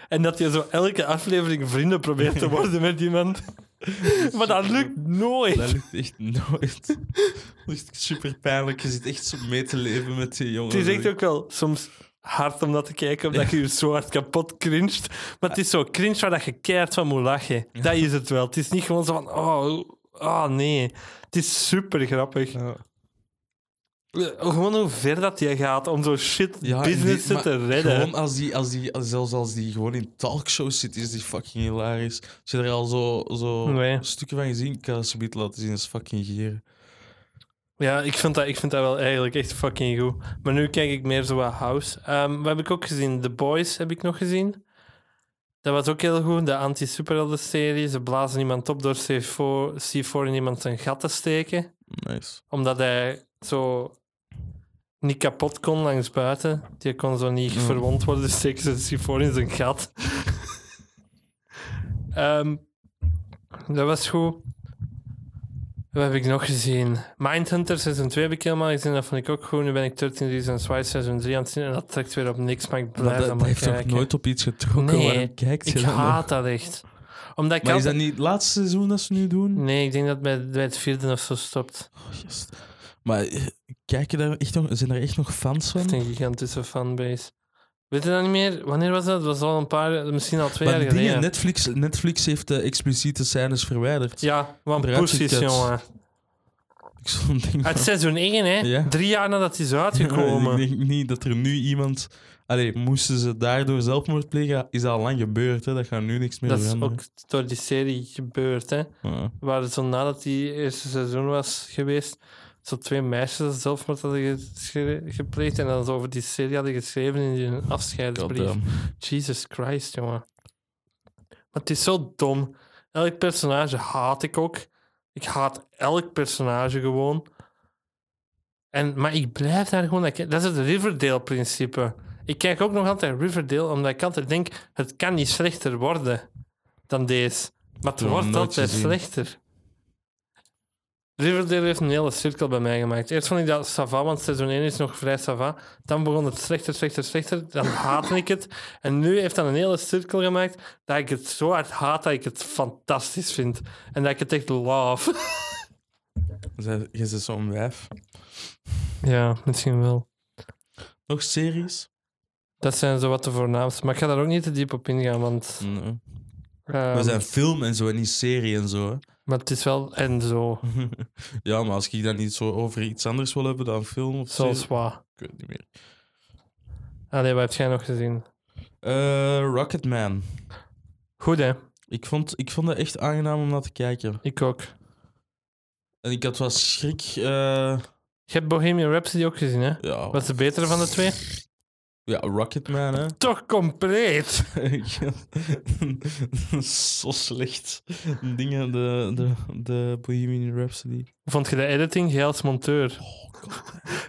En dat je zo elke aflevering vrienden probeert te worden met iemand. Maar dat lukt
Dat
nooit.
lukt echt nooit. Dat is super pijnlijk. Je zit echt zo mee te leven met die jongen.
Het is echt ook wel soms hard om dat te kijken, omdat je je zo hard kapot cringet. Maar het is zo cringe waar dat je keihard van moet lachen. Dat is het wel. Het is niet gewoon zo van, oh, oh nee. Het is super grappig.
Ja.
Gewoon hoe ver dat jij gaat om zo'n shit
Ja, en
business
die-
te
maar
redden.
Gewoon als die, als die, als- zelfs als die gewoon in talkshows zit, is die fucking hilarisch. Als je er al zo, zo
Nee.
stukken van gezien, ik kan dat subiet laten zien, dat is fucking gieren.
Ja, ik vind, dat, ik vind dat wel eigenlijk echt fucking goed. Maar nu kijk ik meer zo wat house. Ehm, wat heb ik ook gezien? The Boys heb ik nog gezien. Dat was ook heel goed. De anti-superhelden-serie. Ze blazen iemand op door C4, C4 in iemand zijn gat te steken.
Nice.
Omdat hij zo niet kapot kon langs buiten. Die kon zo niet
Ja.
verwond worden. Dus steken ze C4 in zijn gat. Ehm, dat was goed. Wat heb ik nog gezien? Mindhunter seizoen 2 heb ik helemaal gezien. Dat vond ik ook goed. Nu ben ik 13 Reasons Why seizoen 3 aan het zien. En dat trekt weer op niks, maar ik
Maar
blijf
dat,
dat
dat
maar
heeft toch
kijken.
nooit op iets getrokken?
Nee,
Waarom kijkt je
ik
dat nog?
haat dat echt. Omdat ik
Maar is
altijd-
dat niet het laatste seizoen dat ze nu doen?
Nee, ik denk dat het bij, bij het vierde of zo stopt.
Oh, yes. Maar eh, kijk je daar echt nog, zijn er echt nog fans
Echt
van?
een gigantische fanbase. Weet je dat niet meer? Wanneer was dat? Het was al een paar, misschien al twee
Maar
jaar
dingen,
geleden.
Netflix, Netflix heeft de expliciete scènes verwijderd.
Ja, want
Eruit
poesjes,
gekut.
jongen.
Ik zo'n ding
Uit seizoen 1, hè?
Ja.
Drie jaar nadat hij is uitgekomen.
Ik denk niet dat er nu iemand. Allee, moesten ze daardoor zelfmoord plegen, is dat al lang gebeurd. Hè? Dat gaat nu niks meer
dat is
veranderen. Ah,
ook door die serie gebeurd, hè?
Ja.
Waar het zo nadat die eerste seizoen was geweest, zo twee meisjes dat zelfmoord hadden gesche- gepleegd en dan zo over die serie hadden geschreven in hun afscheidsbrief.
Goddamn.
Jesus Christ, jongen. Maar het is zo dom. Elk personage haat ik ook. Ik haat elk personage gewoon. En, maar ik blijf daar gewoon... naar kijken. Dat is het Riverdale-principe. Ik kijk ook nog altijd Riverdale, omdat ik altijd denk... Het kan niet slechter worden dan deze. Maar het
heb hem
wordt
nooit
altijd
gezien.
slechter. Riverdale heeft een hele cirkel bij mij gemaakt. Eerst vond ik dat Sava, want seizoen 1 is nog vrij Sava. Dan begon het slechter, slechter, slechter. Dan haatte ik het. En nu heeft dat een hele cirkel gemaakt dat ik het zo hard haat dat ik het fantastisch vind. En dat ik het echt love.
Zij- Je zit zo'n wijf.
Ja, misschien wel.
Nog series?
Dat zijn zo wat de voornaamste. Maar ik ga daar ook niet te diep op ingaan, want...
Nee.
ehm,
We zijn film en zo, en niet serie en zo. hè.
Maar het is wel en zo.
ja, maar als ik dan niet zo over iets anders wil hebben dan film of
Zoals
serie-
wat.
Ik weet het niet meer.
Allee, wat heb jij nog gezien?
Eh, Rocketman.
Goed, hè?
Ik vond, ik vond het echt aangenaam om naar te kijken.
Ik ook.
En ik had wel schrik. eh,
Je hebt Bohemian Rhapsody ook gezien, hè?
ja.
Wat is de betere van de twee?
ja, Rocketman, hè?
Toch compleet!
Zo slecht. Dingen, de, de, de Bohemian Rhapsody.
Vond je de editing? Jij als monteur.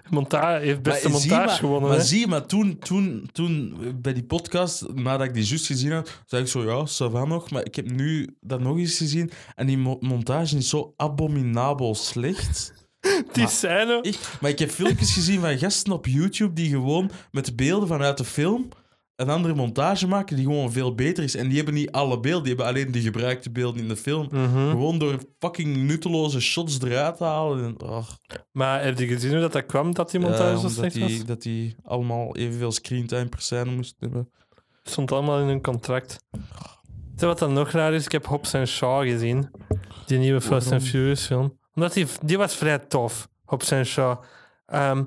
Monta heeft beste
Maar zie
montage
maar-
gewonnen,
Maar
hè?
zie, maar toen, toen, toen bij die podcast, nadat ik die juist gezien had, zei ik zo, ja, ça va nog. Maar ik heb nu dat nog eens gezien. En die mo- montage is zo abominabel slecht.
Die
maar-
scène...
Ik, maar ik heb filmpjes gezien van gasten op YouTube die gewoon met beelden vanuit de film een andere montage maken die gewoon veel beter is. En die hebben niet alle beelden, die hebben alleen de gebruikte beelden in de film.
Mhm.
Gewoon door fucking nutteloze shots eruit te halen. En, ach.
Maar heb je gezien hoe dat, dat kwam, dat die
Ja,
montage
Eh,
zo
omdat
slecht
die,
was?
Dat die allemaal evenveel screentime per scène moesten hebben.
stond allemaal in hun contract. Weet je wat dan nog raar is? Ik heb Hobbs en Shaw gezien. Die nieuwe Fast and
Waarom?
Furious film. Omdat die, die was vrij tof, Hobbs en Shaw. Ehm,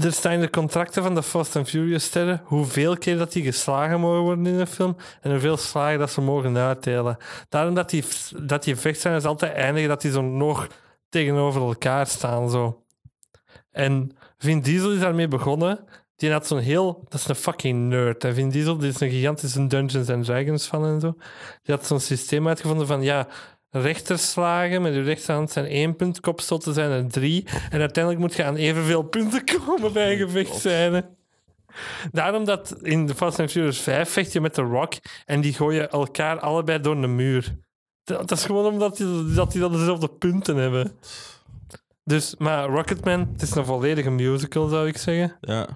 er staan in de contracten van de Fast and Furious sterren hoeveel keer dat die geslagen mogen worden in een film en hoeveel slagen dat ze mogen uitdelen. Daarom dat die, dat die vechtscènes altijd eindigen dat die zo nog tegenover elkaar staan. Zo. En Vin Diesel is daarmee begonnen. Die had zo'n heel... Dat is een fucking nerd. En Vin Diesel die is een gigantische Dungeons and Dragons fan en zo. Die had zo'n systeem uitgevonden van... Ja, rechterslagen met je rechterhand zijn één punt, kopstoten zijn er drie. En uiteindelijk moet je aan evenveel punten komen bij een gevechtsscène. Daarom dat in de Fast and Furious 5 vecht je met The Rock en die gooien elkaar allebei door de muur. Dat, dat is gewoon omdat die, dat die dan dezelfde punten hebben. Dus, maar Rocketman, het is een volledige musical, zou ik zeggen.
Ja.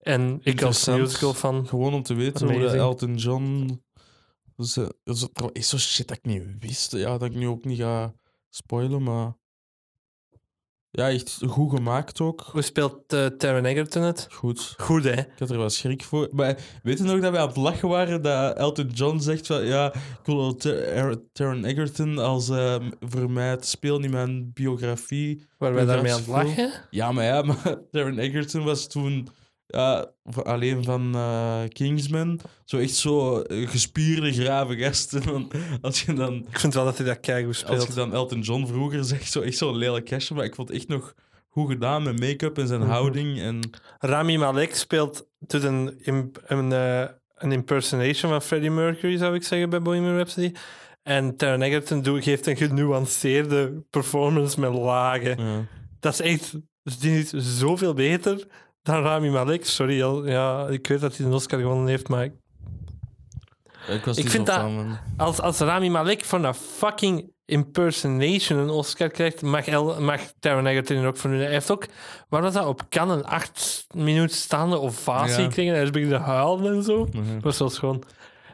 En ik als
Interessant.
musical van...
Gewoon om te weten hoe dat
Amazing.
Elton John... Dus, eh, dat is- dat is zo shit dat ik niet wist. Ja, dat ik nu ook niet ga spoilen, maar... Ja, echt goed gemaakt ook.
Hoe speelt eh Taron Egerton het?
Goed.
Goed, hè?
Ik had er wel schrik voor. Maar weet je nog dat wij aan het lachen waren dat Elton John zegt van... Ja, ik wil wel Ter- Er- Taron Egerton als ehm, voor mij het speel in mijn biografie.
Waar wij
Met
daarmee aan
dat
het lachen?
Ja, maar ja, maar Taron Egerton was toen... Ja, voor- alleen van eh, Kingsman. Zo echt zo eh, gespierde, grave gast. En dan, als je dan
Ik vind wel dat hij dat keigoed
als
speelt.
je dan Elton John vroeger zegt, zo echt zo'n lelijk kastje, maar ik vond het echt nog goed gedaan met make-up en zijn
Mhm.
houding. En
Rami Malek speelt doet een, im- een, eh, een impersonation van Freddie Mercury, zou ik zeggen, bij Bohemian Rhapsody. En Taron Egerton doet- geeft een genuanceerde performance met lagen.
ja.
Dat is echt... Die is zoveel beter dan Rami Malek. Sorry, al- ja, ik weet dat hij een Oscar gewonnen heeft, maar
ik was
Ik
niet
vind
zo
dat-
fan van-
als, als Rami Malek voor een fucking impersonation een Oscar krijgt, mag, El, mag Taron Egerton er ook voor doen. Hij heeft ook, waar was dat, op Cannes een acht minuten staande ovatie
Ja.
gekregen. Hij is beginnen te huilen en zo.
Mhm.
Dat was wel schoon.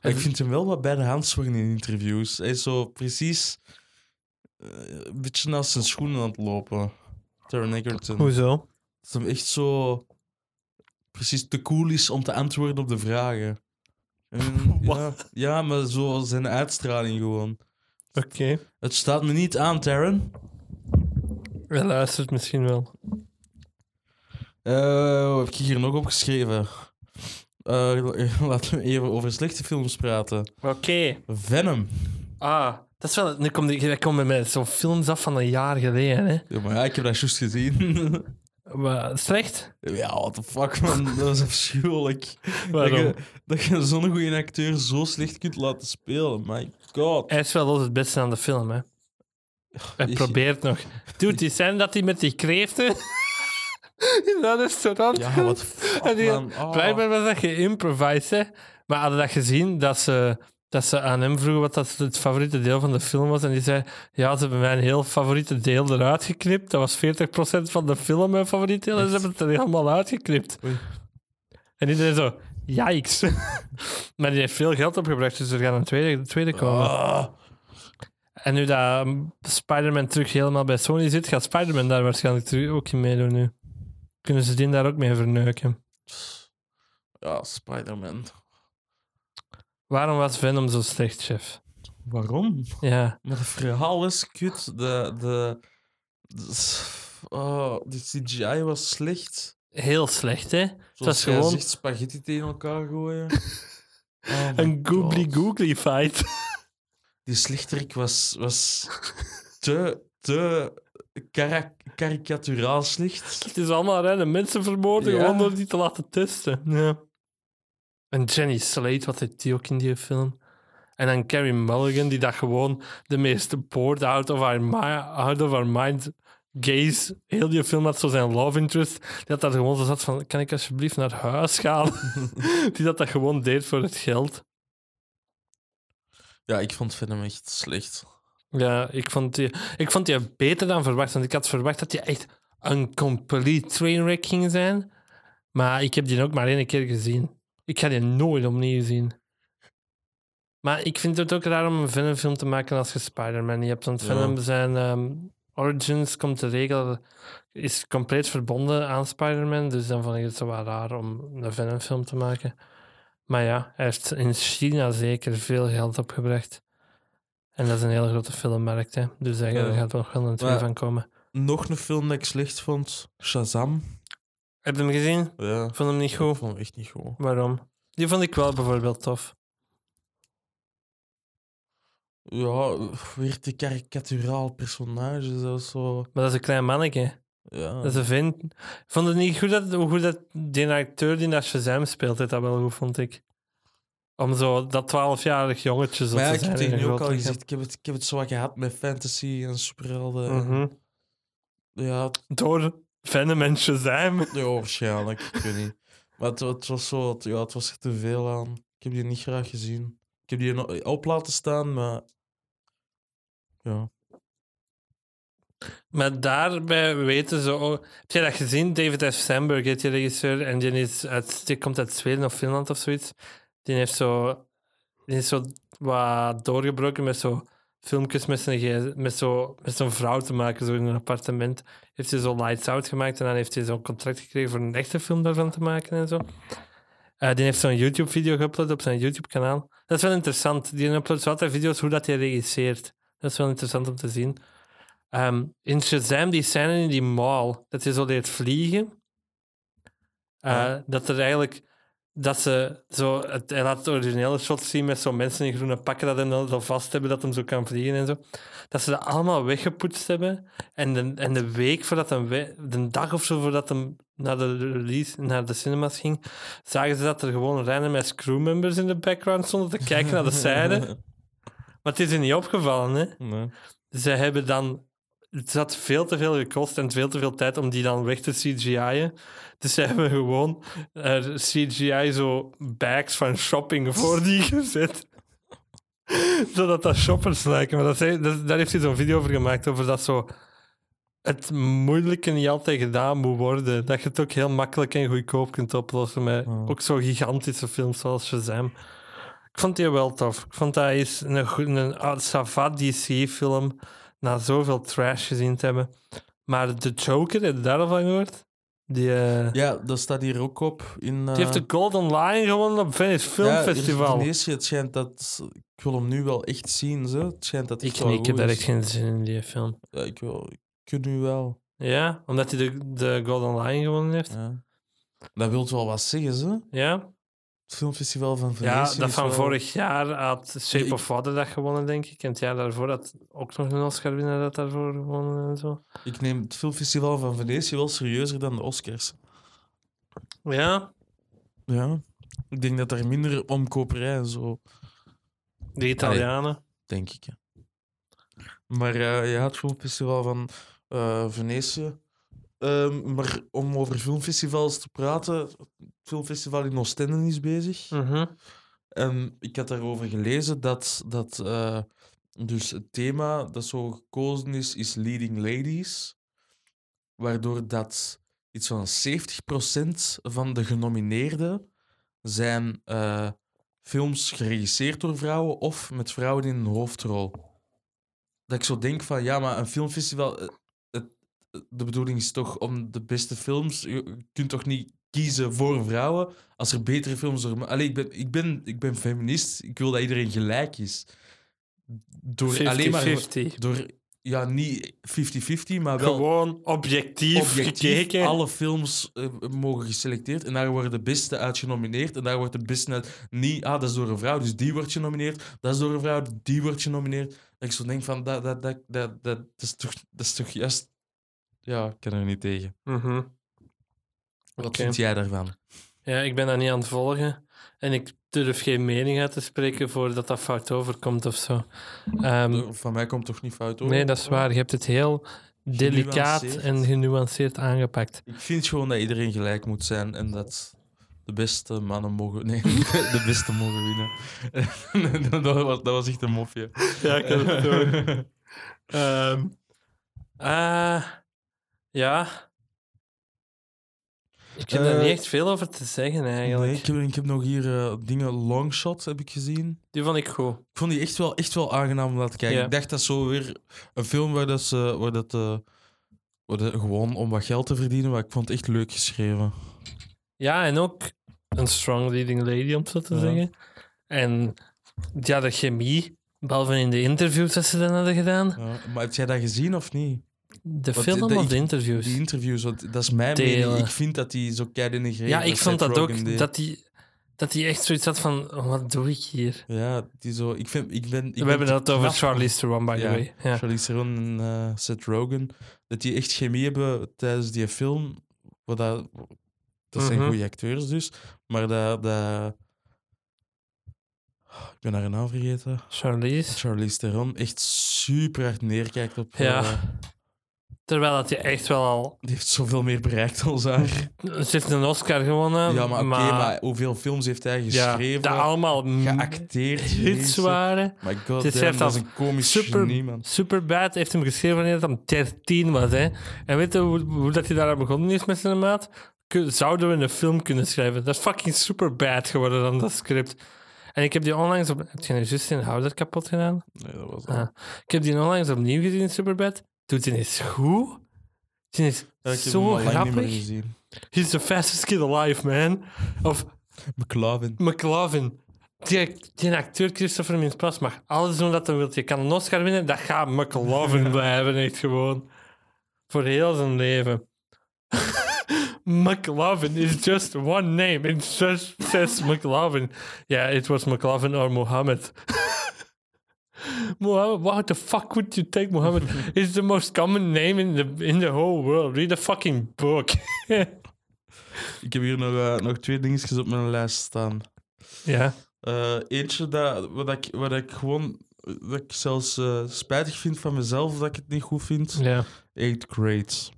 Maar Ik vind hem wel wat bij de hand swingen in interviews. Hij is zo precies eh, een beetje naast zijn schoenen aan het lopen. Taron Egerton.
Hoezo?
Dat hem echt zo precies te cool is om te antwoorden op de vragen. En,
Mm,
ja, ja, maar zo zijn uitstraling gewoon.
Oké.
Het staat me niet aan, Taron.
Hij luistert misschien wel.
Eh, wat heb ik hier nog opgeschreven? Eh, laten we even over slechte films praten.
Oké.
Venom.
Ah, dat is wel... Nu kom ik, wij komen met zo'n films af van een jaar geleden, hè.
Ja, maar ja, ik heb dat juist gezien.
Maar, slecht?
Ja, what the fuck, man. Dat was afschuwelijk.
Waarom?
Dat je, dat je zo'n goede acteur zo slecht kunt laten spelen. My god.
Hij is wel altijd het beste aan de film, hè. Hij
Is-
probeert nog. Dude, die scène dat hij met die kreeften in dat restaurant
Ja,
komt.
wat the fuck,
En die-
man. Ah.
Blijkbaar was dat geïmprovised, hè. Maar hadden dat gezien, dat ze, dat ze aan hem vroegen wat dat het favoriete deel van de film was. En die zei, ja, ze hebben mijn heel favoriete deel eruit geknipt. Dat was 40% van de film mijn favoriete deel. En ze hebben het er helemaal uitgeknipt.
Oei.
En iedereen zo, yikes. maar die heeft veel geld opgebracht, dus er gaat een tweede, tweede komen.
Ah.
En nu dat mm, Spider-Man terug helemaal bij Sony zit, gaat Spider-Man daar waarschijnlijk terug ook in meedoen nu. Kunnen ze die daar ook mee verneuken?
Ja, Spider-Man.
Waarom was Venom zo slecht, chef?
Waarom?
Ja.
Maar het verhaal is kut. De... de, de oh, de CGI was slecht.
Heel slecht, hè?
Het was
gewoon-
gewoon... zegt, spaghetti tegen elkaar gooien. Oh my
Een googly
God.
googly fight.
Die slechterik was, was te, te kara- karikaturaal slecht.
Het is allemaal rennen mensen vermoorden,
Ja.
gewoon door die te laten testen. Ja. En Jenny Slate, wat heeft die ook in die film? En dan Carrie Mulligan, die dat gewoon de meest bored out of our, mi- out of our mind gaze. Heel die film had zo zijn love interest. Die had daar gewoon zo zat van, kan ik alsjeblieft naar huis gaan? die dat dat gewoon deed voor het geld.
Ja, ik vond Venom echt slecht.
Ja, ik vond, die, ik vond die beter dan verwacht. Want ik had verwacht dat die echt een complete trainwreck ging zijn. Maar ik heb die ook maar één keer gezien. Ik ga die nooit opnieuw zien. Maar ik vind het ook raar om een Venom-film te maken als je Spider-Man niet hebt. Want
Ja.
Venom zijn ehm, origins, komt de regel, is compleet verbonden aan Spider-Man. Dus dan vond ik het zo wel raar om een Venom-film te maken. Maar ja, hij heeft in China zeker veel geld opgebracht. En dat is een hele grote filmmarkt, hè. Dus daar
Ja.
gaat nog wel een twee
Maar-
van komen.
Nog een film dat ik slecht vond, Shazam.
Heb je hem gezien?
Ja.
Ik vond hem niet
Ik
goed.
vond hem echt niet goed.
Waarom? Die vond ik wel bijvoorbeeld tof.
Ja, weer te karikaturaal personage, dat is zo.
Maar dat is een klein manneke.
Ja.
Dat is een vent. Ik vond het niet goed dat, hoe goed dat die acteur die dat Shazam speelt, deed dat wel goed, vond ik. Om zo dat 12-jarig jongetje zo
maar ja,
te
ik
zijn.
heb
in een
tegen je ook
groot
al
lichaam.
gezegd, ik heb, het, ik heb het zo wat gehad met fantasy en superhelden. en-
Mhm.
Ja, het-
Door Venom en Shazam.
ja, waarschijnlijk. ik weet niet. Maar het, het was zo, het- ja, het was er te veel aan. Ik heb die niet graag gezien. Ik heb die no- op laten staan, maar. Ja.
Maar daarbij weten ze ook... Heb jij dat gezien? David F. Sandberg heet die regisseur. En die, is uit, die komt uit Zweden of Finland of zoiets. Die, heeft zo, die is zo wat doorgebroken met zo filmpjes met zijn gs- met zo- met zo'n vrouw te maken, zo in een appartement. Heeft hij zo Lights Out gemaakt en dan heeft hij zo'n contract gekregen voor een echte film daarvan te maken en zo. Eh, die heeft zo'n YouTube-video geüpload op zijn YouTube-kanaal. Dat is wel interessant. Die uploadt zo altijd video's hoe dat hij regisseert. Dat is wel interessant om te zien. Ehm, in Shazam, die scène in die mall, dat hij zo leert vliegen. Eh,
Ja.
Dat er eigenlijk... Dat ze zo... Het, hij laat het originele shot zien met zo'n mensen in groene pakken dat hem dan zo vast hebben, dat hem zo kan vliegen en zo. Dat ze dat allemaal weggepoetst hebben. En de, en de week voordat hem... we- De dag of zo voordat hem naar de release, naar de cinemas ging, zagen ze dat er gewoon random ass crewmembers in de background stonden te kijken naar de scène. Maar het is er niet opgevallen, hè.
Nee.
Ze hebben dan... Het had veel te veel gekost en veel te veel tijd om die dan weg te CGI'en. Dus ze hebben gewoon eh, CGI zo bags van shopping voor die gezet. Zodat dat shoppers lijken. Maar dat zei- dat, daar heeft hij zo'n video over gemaakt, over dat zo... Het moeilijke niet altijd gedaan moet worden. Dat je het ook heel makkelijk en goedkoop kunt oplossen met
Ja.
ook zo gigantische films zoals Shazam. Ik vond die wel tof. Ik vond dat is een, goe- een ah, Savat DC-film na zoveel trash gezien te hebben. Maar de Joker, heb je daar al van gehoord? Die, eh,
Ja, dat staat hier ook op. In, eh,
die heeft de Golden Lion gewonnen op Venice Film Festival.
Indonesië, het schijnt dat. Ik wil hem nu wel echt zien, ze. Het schijnt dat
Ik,
wel
ik heb
goed
daar
is.
echt geen zin in, die film.
Ja, ik, wil, ik kan nu wel.
Ja, omdat hij de, de Golden Lion gewonnen heeft. Ja,
Ja. Dat wilt wel wat zeggen, ze.
ja?
Het filmfestival van Venetië.
ja dat
is
van
wel-
vorig jaar had Shape
Ik-
of Water dat gewonnen, denk ik. En het jaar daarvoor had ook nog een Oscar-winnaar dat daarvoor gewonnen en zo.
Ik neem het filmfestival van Venetië wel serieuzer dan de Oscars.
Ja,
Ja. Ik denk dat er minder omkoperij en zo,
de Italianen.
denk ik. hè. Maar eh, ja, het filmfestival van eh Venetië. Ehm, maar om over filmfestivals te praten, het filmfestival in Oostende is bezig.
Mhm.
En ik had daarover gelezen dat, dat eh, dus het thema dat zo gekozen is, is Leading Ladies. Waardoor dat iets van 70% van de genomineerden zijn eh, films geregisseerd door vrouwen of met vrouwen in een hoofdrol. Dat ik zo denk van, ja, maar een filmfestival... eh, het- De bedoeling is toch om de beste films... Je je kunt toch niet kiezen voor vrouwen? als er betere films door. ma- Allee, ik ben, ik ben, ik ben feminist. Ik wil dat iedereen gelijk is. Door alleen maar.
50-50.
Door, ja, niet 50-50, maar wel
Gewoon objectief,
objectief.
gekeken.
Alle films eh, mogen geselecteerd en daar worden de beste uit genomineerd. En daar wordt de beste uit. Niet, ah, dat is door een vrouw, dus die wordt genomineerd. Dat is door een vrouw, die wordt genomineerd. Dat ik zo denk van, dat, dat, dat, dat, dat, dat is, toch, dat is toch juist. Ja, ik kan er niet tegen.
Mhm.
Wat
Oké.
vind jij daarvan?
Ja, ik ben dat niet aan het volgen. En ik durf geen mening uit te spreken voordat dat fout overkomt of zo. Ehm,
Van mij komt toch niet fout over?
nee, dat is waar. Je hebt het heel delicaat en
Genuanceerd.
genuanceerd aangepakt.
Ik vind gewoon dat iedereen gelijk moet zijn en dat de beste mannen mogen... Nee, de beste mogen winnen. dat, was, dat was echt een mopje.
Ja, ik heb het Ehm, eh, ja. Ik heb er
Eh,
niet echt veel over te zeggen eigenlijk.
Nee, ik, heb, ik heb nog hier eh, dingen, longshot heb ik gezien.
Die vond ik goed.
Ik vond die echt wel, echt wel aangenaam om naar te kijken.
Ja.
Ik dacht dat zo weer een film waar dat ze... Waar dat, eh, waar dat- gewoon om wat geld te verdienen, maar ik vond het echt leuk geschreven.
Ja, en ook een strong leading lady, om het zo te
Ja.
zeggen. En ja, de chemie, behalve in de interviews dat ze dan hadden gedaan.
Ja, maar heb jij dat gezien of niet?
De
Want
film
de-
of
ik-
de interviews?
Die interviews, want dat is mijn
Delen.
mening. Ik vind dat die zo kei denigrerend
eh, ja, ik
met
vond
Seth
dat
Rogen
ook.
deed.
Dat die, dat die echt zoiets had van: oh, wat doe ik hier?
Ja, die zo... Ik, vind, ik ben... Ik
We hebben
ben
het over
knap-
Charlize Theron, by the
Ja,
way. Ja.
Charlize Theron en eh, Seth Rogen. Dat die echt chemie hebben tijdens die film. Wat dat, dat zijn
Mhm.
goede acteurs dus. Maar dat... dat oh, ik ben haar naam vergeten.
Charlize.
Charlize Theron echt super hard neerkijkt op...
Ja.
eh,
Terwijl dat je echt wel al.
die heeft zoveel meer bereikt als haar.
Ze heeft een Oscar gewonnen.
ja, maar oké, maar hoeveel films heeft hij
ja,
geschreven?
dat allemaal
geacteerd.
hits
Jezus.
waren.
My god,
Dit
damn,
heeft
dat is
dat
een komisch
super-
genie, man.
Superbad heeft hem geschreven wanneer dat hem 13 was. Hè. En weet je hoe, hoe dat hij daar begonnen is met zijn maat? Kun- Zouden we een film kunnen schrijven? Dat is fucking superbad geworden dan dat script. En ik heb die onlangs op... Heb je nou juist een houder kapot gedaan?
Nee, dat was
Ah. Ik heb die onlangs opnieuw gezien, Superbad. Doet die is goed. Die is
Ja, ik heb hem
zo
al lang niet meer
grappig.
gezien.
He's the fastest kid alive, man. Of
McLavin.
McLovin. Die, die acteur Christopher Mintz Plas mag alles doen dat hij wil. Je kan een Oscar winnen, dat gaat McLovin blijven, echt gewoon. Voor heel zijn leven. McLovin is just one name. It just says McLovin. Yeah, it was McLovin or Mohammed. Mohammed, why the fuck would you take Mohammed? It's the most common name in the, in the whole world. Read a fucking book.
Ik heb hier nog, eh, nog twee dingetjes op mijn lijst staan.
ja.
Eh, eentje dat, wat, ik, wat ik gewoon... Dat ik zelfs eh, spijtig vind van mezelf dat ik het niet goed vind.
Ja.
Eight grades.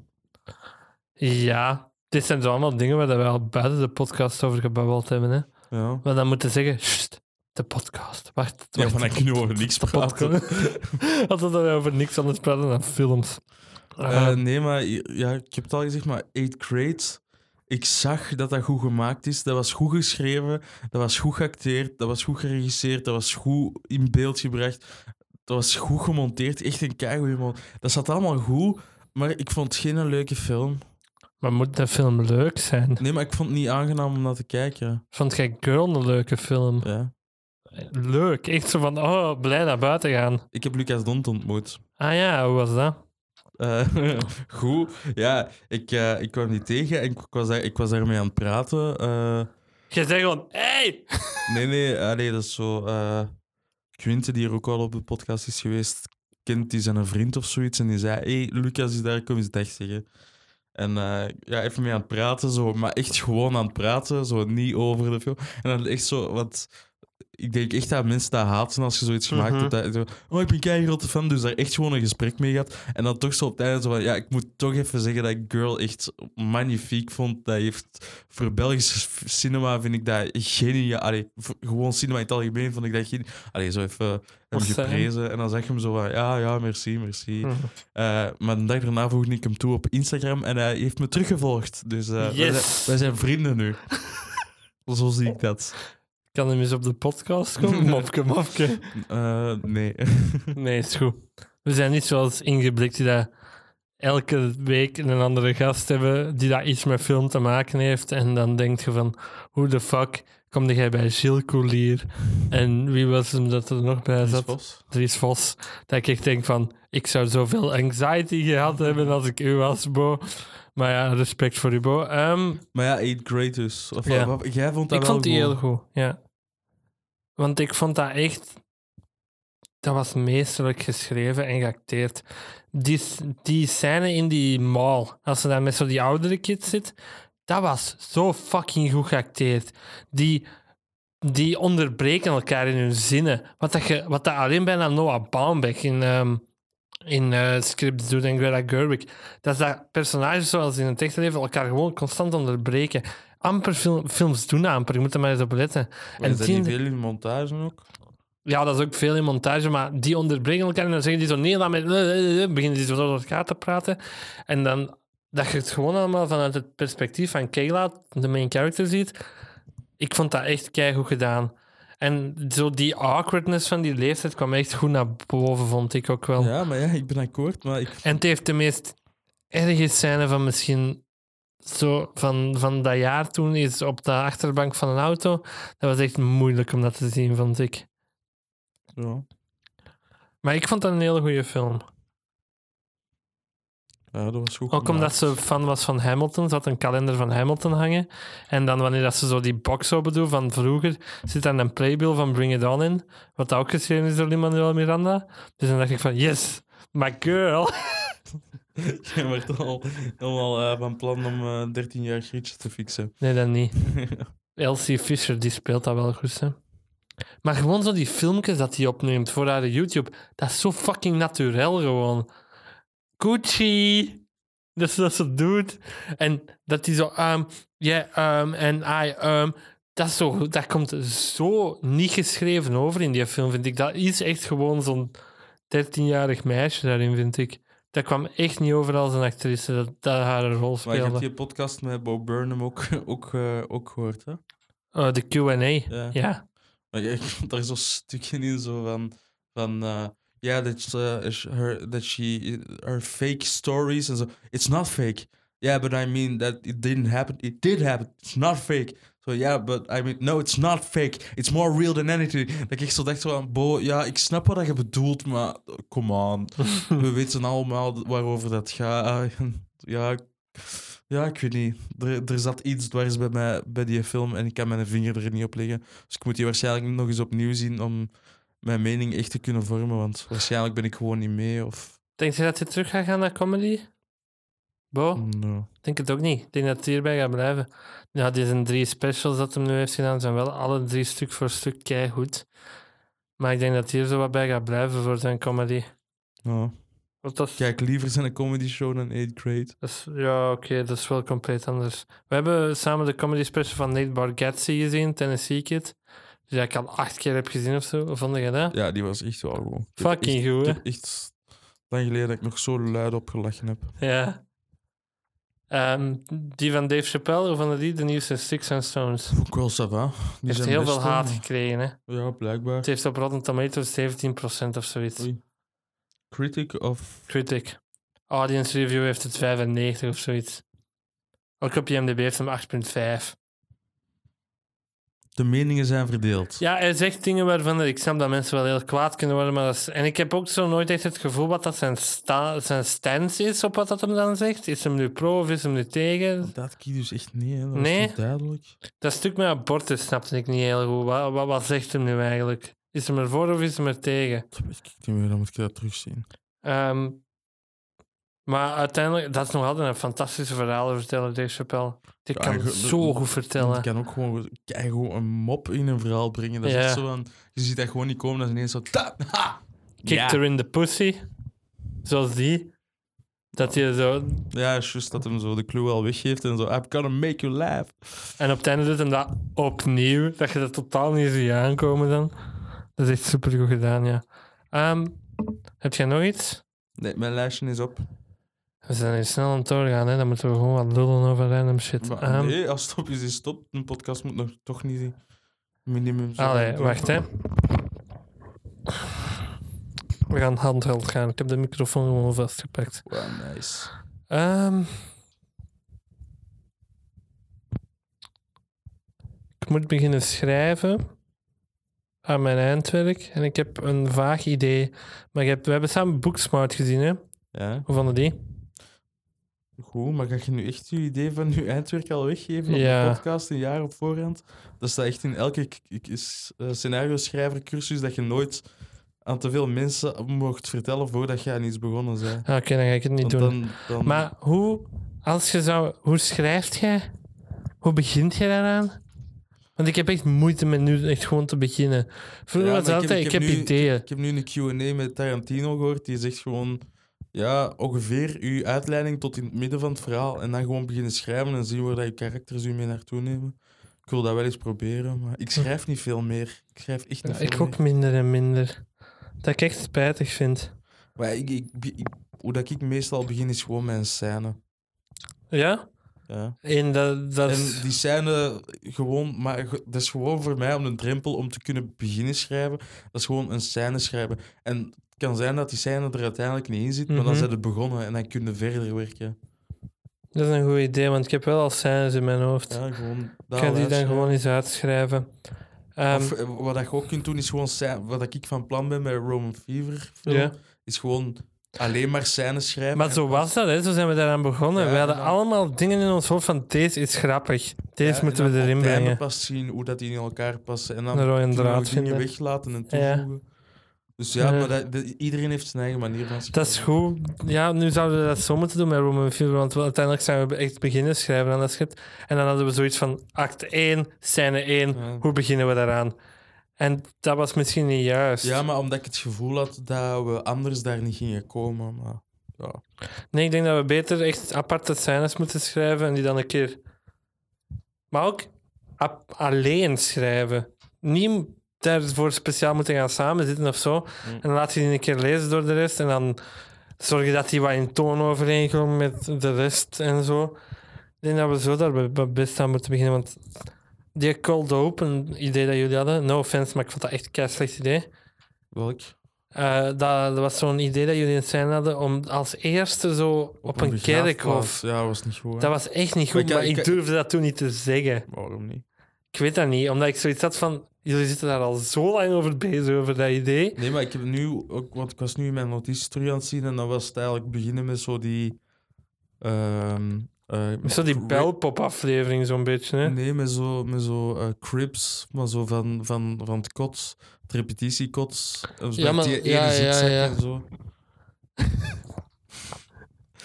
Ja, dit zijn zo allemaal dingen waar we al buiten de podcast over gebabbeld hebben. Hè.
Ja.
Maar dan moeten zeggen, "Sst, de podcast. Wacht,
Ja,
wacht,
maar dan kunnen we over niks
de
praten.
podcast. Alsof we over niks anders praten dan films.
Eh,
Eh,
nee, maar ja, ik heb het al gezegd, maar Eight Grades. Ik zag dat dat goed gemaakt is. Dat was goed geschreven, dat was goed geacteerd, dat was goed geregisseerd, dat was goed in beeld gebracht. Dat was goed gemonteerd, echt een keigoeie man. Dat zat allemaal goed, maar ik vond het geen een leuke film.
maar moet de film leuk zijn?
Nee, maar ik vond het niet aangenaam om naar te kijken.
Vond jij Girl een leuke film?
Ja.
Leuk. Echt zo van, oh, blij naar buiten gaan.
Ik heb Lucas Dont ontmoet.
Ah ja, hoe was dat?
Eh, goed, ja, ik, eh, ik kwam niet tegen en ik was, daar, ik was daarmee aan het praten. eh,
Jij zei gewoon, hey!
Nee, nee, allee, dat is zo. eh Quinte, die er ook al op de podcast is geweest, kent die zijn een vriend of zoiets. En die zei: hey, Lucas is daar, kom eens dag zeggen. En eh, ja, even mee aan het praten, zo, maar echt gewoon aan het praten, zo niet over de film. En dan echt zo, wat. Ik denk echt dat mensen dat haten als je zoiets gemaakt
Mhm.
hebt. Dat, zo, oh, ik ben een grote fan, dus daar echt gewoon een gesprek mee gehad. En dan toch zo op het einde zo van, ja, ik moet toch even zeggen dat ik Girl echt magnifiek vond. Dat heeft, voor Belgisch cinema vind ik dat geniaal. Allee, voor- gewoon cinema in het algemeen vond ik dat geniaal. Allee, zo even eh, hem
Wat zei hij?
geprezen. En dan zeg je hem zo van, ja, ja, merci, merci.
Hm.
Eh, maar de dag daarna voegde ik hem toe op Instagram en hij heeft me teruggevolgd. Dus eh, wij,
Yes.
zijn, wij zijn vrienden nu. zo zie ik dat.
Kan hem eens op de podcast komen? Mopke, mopke.
Eh, nee.
Nee, is goed. We zijn niet zoals Ingeblikt, die dat elke week een andere gast hebben die daar iets met film te maken heeft. En dan denk je van, hoe de fuck kom jij bij Gilles Coulier? En wie was hem dat er nog bij
Dries
zat?
Vos?
Dries Vos. Dat ik echt denk van, ik zou zoveel anxiety gehad hebben als ik u was, Bo. Maar ja, respect voor u, Bo. Ehm,
Maar ja, 8 Great dus. Of,
Ja.
wat- jij vond dat
ik
wel
vond
goed.
die heel goed, ja. Want ik vond dat echt... Dat was meesterlijk geschreven en geacteerd. Die, s- die scène in die mall, als ze daar met zo die oudere kids zit, dat was zo fucking goed geacteerd. Die, die onderbreken elkaar in hun zinnen. Wat dat, je, wat dat alleen bijna Noah Baumbach in, ehm in eh, scripts doet en Greta Gerwig. Dat is dat personages zoals in het echte leven elkaar gewoon constant onderbreken. Amper film- films doen dat amper, je moet er maar eens op letten.
Maar is dat
die-
niet veel in montage ook?
Ja, dat is ook veel in montage, maar die onderbreken elkaar en dan zeggen die zo nee, laat mij... eh, Beginnen die zo door elkaar te praten. En dan dat je het gewoon allemaal vanuit het perspectief van Kayla, de main character, ziet. Ik vond dat echt keigoed gedaan. En zo die awkwardness van die leeftijd kwam echt goed naar boven, vond ik ook wel.
Ja, maar ja, ik ben akkoord, maar ik...
En het heeft de meest erge scène van misschien zo van, van dat jaar toen is op de achterbank van een auto. Dat was echt moeilijk om dat te zien, vond ik.
Ja.
Maar ik vond dat een hele goede film.
Ja, dat was goed.
Ook omdat ze fan was van Hamilton. Ze had een kalender van Hamilton hangen. En dan wanneer dat ze zo die box open doen van vroeger, zit daar een playbill van Bring It On in. Wat ook geschreven is door Lin-Manuel Miranda. Dus dan dacht ik van, yes, my girl.
Je werd al helemaal eh, van plan om eh 13 jaar Grietje te fixen.
Nee, dat niet. Elsie Fisher, die speelt dat wel goed, hè. Maar gewoon zo die filmpjes dat hij opneemt voor haar YouTube, dat is zo fucking naturel gewoon. Gucci! Dat is dat ze doet. En dat hij zo, ehm ja, ehm, en I, ehm. Dat, is zo, dat komt zo niet geschreven over in die film, vind ik. Dat is echt gewoon zo'n 13-jarig meisje daarin, vind ik. Dat kwam echt niet over als een actrice, dat, dat haar rol
Maar
speelde.
je hebt die podcast met Bo Burnham ook, ook, eh, ook gehoord, hè?
Eh, de Q&A,
Ja.
ja.
Maar jij komt daar zo'n stukje in zo van. van eh, ja, dat ze- is her, that she. Her fake stories en zo. It's not fake. Yeah, but I mean that it didn't happen. It did happen. It's not fake. So yeah, but I mean, no, it's not fake. It's more real than anything. Dat ik echt zo dacht van, Bo, ja, ik snap wat je bedoelt, maar eh, come on. We weten allemaal waarover dat gaat. Ah, Ja, ik- ja, ik weet niet. Er, er zat iets dwars bij mij bij die film en ik kan mijn vinger er niet op leggen. Dus ik moet die waarschijnlijk nog eens opnieuw zien om mijn mening echt te kunnen vormen. Want waarschijnlijk ben ik gewoon niet mee. Of...
Denk je dat hij terug gaat gaan naar comedy? Bo?
Hm.
Ik
No.
denk het ook niet. Ik denk dat hij hierbij gaat blijven. Ja, deze drie specials dat hij nu heeft gedaan, zijn wel alle drie stuk voor stuk keigoed. Maar ik denk dat hij hier zo wat bij gaat blijven voor zijn comedy.
No.
Want dat is,
Kijk liever zijn een comedy show dan 8 grade.
dat is- ja, oké, dat is wel compleet anders. We hebben samen de comedy special van Nate Bargatze gezien, Tennessee Kid. Die ik al acht keer heb gezien of zo. Of vond je dat?
Ja, die was echt wel gewoon. Ik heb
Fucking
echt-
goed,
Ik
hè?
heb echt lang geleden dat ik nog zo luid opgelachen heb.
Ja. Ehm, die van Dave Chappelle, of van die? De nieuwste Sticks and Stones.
Ook wel, ça va. Die
heeft
zijn
heel
best wel,
veel haat
maar-
gekregen. Hè?
Ja, blijkbaar.
Het heeft op Rotten Tomatoes 17% of zoiets.
Oei. Critic of...
Critic. Audience Review heeft het 95 of zoiets. Ook op IMDb heeft hem 8,5.
De meningen zijn verdeeld.
Ja, hij zegt dingen waarvan ik snap dat mensen wel heel kwaad kunnen worden. Maar dat is- en ik heb ook zo nooit echt het gevoel wat dat zijn, sta, zijn stance is op wat dat hem dan zegt. Is hem nu pro of is hem nu tegen?
Dat kies dus echt niet, hè. Dat was
Nee.
toch duidelijk.
Dat stuk met abortus snapte ik niet heel goed. Wat, wat, wat zegt hem nu eigenlijk? Is hem ervoor of is hem er tegen?
Dat weet ik niet meer, dan moet ik dat terugzien.
Ehm, maar uiteindelijk, dat is nog altijd een fantastische verhalen vertellen, Dave Chappelle. Die
Ja,
kan
ik-
het zo goed vertellen.
Ik kan ook gewoon keigoed een mop in een verhaal brengen. Dat is
Ja.
echt zo van, je ziet dat gewoon niet komen, dat is ineens zo... Ta, ha!
Kick
ja.
her in the pussy. Zoals die. Dat je zo...
Ja, is juist dat hem zo de clue al weggeeft en zo... I've gotta make you laugh.
En op het einde doet hem dat opnieuw. Dat je dat totaal niet ziet aankomen dan. Dat is echt super goed gedaan, ja. Ehm, heb jij nog iets?
Nee, mijn lijstje is op.
We zijn hier snel aan het doorgaan, hè. Dan moeten we gewoon wat lullen over random shit.
Maar
Ehm,
nee, als het op is, is het op. Een podcast moet nog toch niet eh, minimum zijn.
Allee, Ah, wacht hè. We gaan handheld gaan. Ik heb de microfoon gewoon vastgepakt.
Wow, nice.
Ehm. ik moet beginnen schrijven aan mijn eindwerk. En ik heb een vaag idee. Maar ik heb, we hebben samen Booksmart gezien, hè?
Ja,
Hoe vonden die?
goed. Maar ga je nu echt je idee van je eindwerk al weggeven op
Ja.
de podcast een jaar op voorhand? Dat staat echt in elke k- k- is- eh, scenario-schrijver-cursus dat je nooit aan te veel mensen mocht vertellen voordat je aan iets begonnen bent.
Ah, Oké, dan ga ik het niet doen.
Want Dan, dan,
Maar hoe, als je zou, hoe schrijft jij? Hoe begint je daaraan? Want ik heb echt moeite met nu echt gewoon te beginnen. Vroeger
Ja,
was
maar
het altijd, ik heb,
nu-
ideeën.
Ik heb nu een Q&A met Tarantino gehoord, die zegt gewoon... Ja, ongeveer uw uitleiding tot in het midden van het verhaal. En dan gewoon beginnen schrijven en zien waar dat je karakters u mee naartoe nemen. Ik wil dat wel eens proberen, maar ik schrijf niet veel meer. Ik schrijf echt niet
Ja,
veel
ik
meer.
ook minder en minder. Dat ik echt spijtig vind.
Maar ik, ik, ik- hoe dat ik meestal begin, is gewoon mijn scène.
Ja?
Ja.
En dat, dat is-
En die scène, gewoon, maar ge- dat is gewoon voor mij om een drempel om te kunnen beginnen schrijven. Dat is gewoon een scène schrijven. En het kan zijn dat die scène er uiteindelijk niet in zit, maar
Mhm.
dan zijn het begonnen en dan kun je verder werken.
dat is een goed idee, want ik heb wel al scènes in mijn hoofd.
Ja, gewoon
ik
daar
ga die dan
luisteren.
gewoon eens uitschrijven. Ehm,
Of, eh, wat dat je ook kunt doen, is gewoon scè- wat ik van plan ben bij Roman Fever. film,
ja.
Is gewoon Alleen maar scènes schrijven.
Maar zo was dat, hè? zo zijn we daaraan begonnen.
Ja,
we hadden
en dan-
allemaal dingen in ons hoofd van deze is grappig, deze
Ja, en
moeten we
dan
erin
op het einde
brengen.
pas zien hoe dat die in elkaar passen. En dan
Een rode
kunnen we
draad
dingen
vinden.
weglaten en
Ja.
toevoegen. Dus ja,
Ja.
maar dat, dat- iedereen heeft zijn eigen manier van
Dat is goed. Ja, nu zouden we dat zo moeten doen met Roman Field, want we- uiteindelijk zijn we echt beginnen schrijven aan dat script. En dan hadden we zoiets van act 1, scène 1,
Ja.
hoe beginnen we daaraan? En dat was misschien niet juist.
Ja, maar omdat ik het gevoel had dat we anders daar niet gingen komen. Maar ja.
Nee, ik denk dat we beter echt aparte scènes moeten schrijven en die dan een keer. Maar ook ap- alleen schrijven. Niet daarvoor speciaal moeten gaan samenzitten of zo. En dan laat je die een keer lezen door de rest en dan zorg je dat die wat in toon overeenkomt met de rest en zo. Ik denk dat we zo daar be- be- best aan moeten beginnen. Want die cold open idee dat jullie hadden, no offense, maar ik vond dat echt een slecht idee.
Welk?
Eh, dat, dat was zo'n idee dat jullie in het zijn hadden om als eerste zo op, een,
begraafplaats.
kerkhof.
Ja, was niet goed. hè?
Dat was echt niet goed,
Maar
maar,
ik- ik-
ik durfde dat toen niet te zeggen.
Waarom niet?
Ik weet dat niet, omdat ik zoiets had van... Jullie zitten daar al zo lang over bezig, over dat idee.
Nee, maar ik heb nu ook, want ik was nu in mijn notities terug aan het zien en dan was het eigenlijk beginnen met zo die. ehm eh,
Zo die
Ra-
belpop-aflevering zo'n beetje, hè.
Nee, met zo, met zo eh, crips, maar zo van, van, van het kots, het repetitiekots. eh,
Ja,
met
maar-
die ene
ja, ja,
zitzak
ja.
en zo.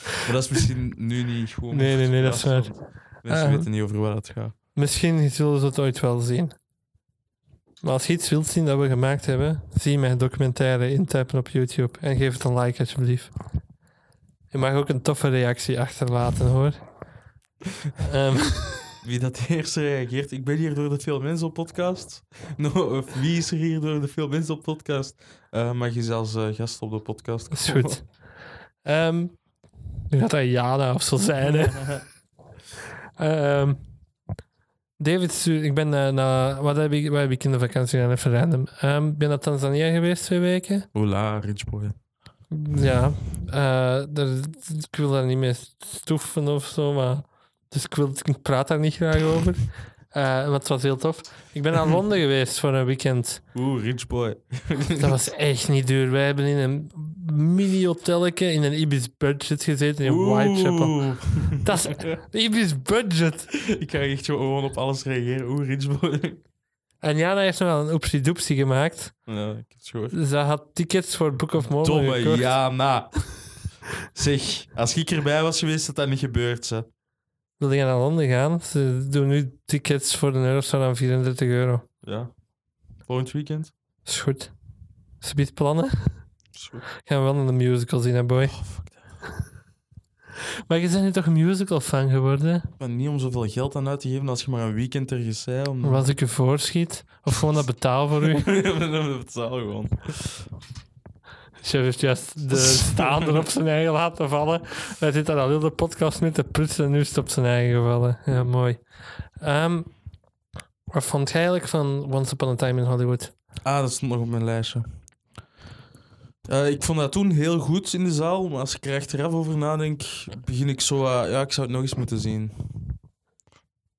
maar dat is misschien nu niet goed. om
Nee, nee, nee, dat is waar.
Mensen
Ah.
weten niet over waar het gaat.
Misschien zullen ze het ooit wel zien. Maar als je iets wilt zien dat we gemaakt hebben, zie mijn documentaire intypen op YouTube en geef het een like alsjeblieft. Je mag ook een toffe reactie achterlaten hoor. Ehm,
Wie dat eerst reageert, ik ben hier door de Veel Mensen op podcast. No, of wie is er hier door de Veel Mensen op podcast? Eh, mag je zelfs eh, gast op de podcast
is goed. Ehm, nu gaat dat Jana of zo zijn. Hè. Ehm, David, stuurt- ik ben eh, naar. Wat heb ik, wat heb ik in de vakantie gedaan? Even random. Ehm, ik ben naar Tanzania geweest twee weken.
Hola, Richboy.
Ja, eh, daar- ik wil daar niet mee stoeven of zo, maar. Dus ik, wil, ik praat daar niet graag over. Eh maar het was heel tof. Ik ben naar Londen geweest voor een weekend.
Oeh, Richboy.
Dat was echt niet duur. Wij hebben in een mini-hotelletje in een Ibis Budget gezeten in Whitechapel. Dat is Ibis Budget.
Ik ga echt gewoon op alles reageren. Oeh, Richboy.
En Jana heeft nog wel een oepsie-doepsie gemaakt.
Ja, ik heb het gehoord.
Ze had tickets voor Book of Mormon
Domme
gekocht.
Jana. Zeg, als ik erbij was geweest, had dat niet gebeurd. Hè.
Wilde je naar Londen gaan? Ze doen nu tickets voor een euro of zo dan 34 euro.
Ja. Volgend weekend?
Is goed. Subiet plannen.
Is goed.
Gaan we wel naar de musical zien, hè, boy.
Oh, fuck that.
Maar je bent nu toch een musical fan geworden?
Ik ben niet om zoveel geld aan uit te geven als je maar een weekend ergens zei. Om...
Of als ik je voorschiet? Of gewoon dat betaal voor u?
Het zal gewoon.
Chef heeft juist de staander op zijn eigen laten vallen. Hij zit daar al heel de podcast mee te prutsen en nu is het op zijn eigen gevallen. Ja, mooi. Ehm, wat vond jij eigenlijk van Once Upon a Time in Hollywood?
Ah, dat stond nog op mijn lijstje. Eh, ik vond dat toen heel goed in de zaal, maar als ik er achteraf over nadenk, begin ik zo... eh, ja, ik zou het nog eens moeten zien.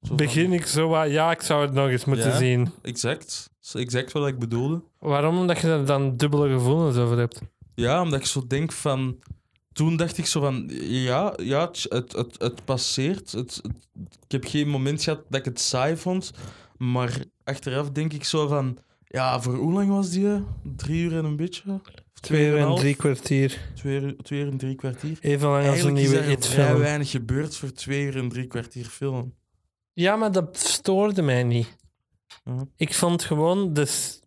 Zo van-
Begin ik zo wat... Ja, ik zou het nog eens moeten
Ja?
zien.
Exact. Dat is exact wat ik bedoelde.
Waarom? Omdat je daar dan dubbele gevoelens over hebt.
Ja, omdat ik zo denk van... Toen dacht ik zo van, ja, ja het, het, het, het passeert. Het, het- ik heb geen moment gehad dat ik het saai vond. Maar achteraf denk ik zo van... Ja, voor hoe lang was die? Drie uur en een beetje? Of
Twee uur en
half?
drie kwartier.
Twee uur, twee uur en drie kwartier.
Even lang als een
Eigenlijk is
nieuwe
er vrij
It-film.
weinig gebeurd voor twee uur en drie kwartier film.
Ja, maar dat stoorde mij niet.
Ja.
Ik vond gewoon de, s-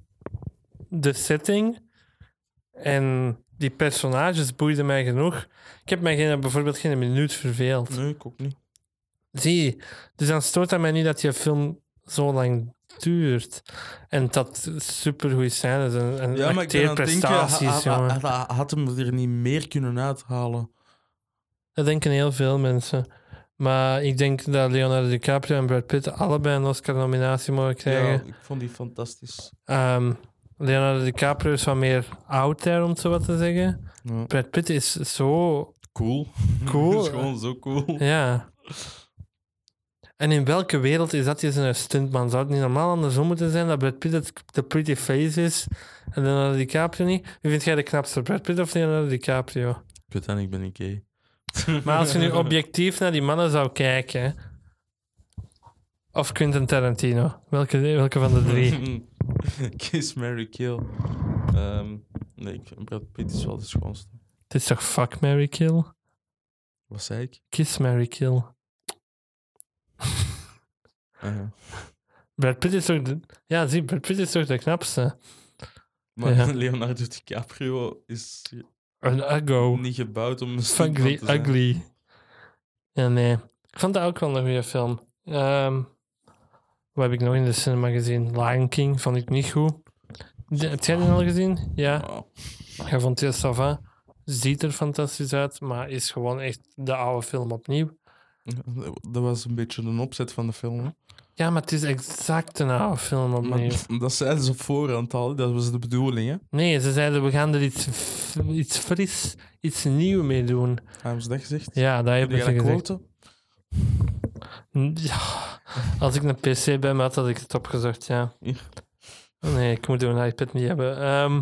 de setting en die personages boeiden mij genoeg. Ik heb mij geen, bijvoorbeeld geen minuut verveeld.
Nee, ik ook niet.
Zie, dus dan stoort het mij niet dat je film zo lang duurt. En dat supergoeie scènes en, en
Ja, maar ik ben aan het denken, ha-
acteerprestaties,
ha-
jongen.
ha- ha- had hem er niet meer kunnen uithalen?
Dat denken heel veel mensen. Maar ik denk dat Leonardo DiCaprio en Brad Pitt allebei een Oscar-nominatie mogen krijgen.
Ja, ik vond die fantastisch.
Ehm, Leonardo DiCaprio is wat meer out there, om het zo wat te zeggen.
Ja.
Brad Pitt is zo...
Cool.
Cool.
Het is gewoon zo cool.
Ja. En in welke wereld is dat is een stuntman? Zou het niet normaal andersom moeten zijn dat Brad Pitt het, de pretty face is en Leonardo DiCaprio niet? Wie vind jij de knapste, Brad Pitt of Leonardo DiCaprio?
kut aan, ik ben niet gay.
Maar als je nu objectief naar die mannen zou kijken, hè. of Quentin Tarantino, welke, welke van de drie?
Kiss, Mary, Kill. Ehm, nee, ik- Brad Pitt is wel de schoonste.
Het is toch fuck Mary Kill?
Wat zei ik?
Kiss Mary Kill.
Ah, ja.
Brad Pitt is toch de, ja, zie, Brad Pitt is toch de knapste?
Maar
Ja.
Leonardo DiCaprio is
Een uggo.
niet gebouwd om een
Fuck
stuntman
the
te zijn.
ugly. Ja, nee. Ik vond dat ook wel een goede film. Ehm, wat heb ik nog in de cinema gezien? Lion King vond ik niet goed. De- heb jij die al gezien? Ja.
Oh.
Jij vond die Sava. Ziet er fantastisch uit, maar is gewoon echt de oude film opnieuw.
Dat was een beetje een opzet van de film. hè.
Ja, maar het is exact een oude film
Maar
opnieuw.
dat zeiden ze op voorhand al, dat was de bedoeling. Hè?
Nee, ze zeiden we gaan er iets, f- iets fris, iets nieuw mee doen.
Hebben ze dat gezegd?
Ja, dat
Heb
hebben
je
ze
dat
gezegd.
quote?
Ja, als ik een PC bij me had, had ik het opgezocht, ja.
Ja.
Nee, ik moet een iPad niet hebben. Ehm,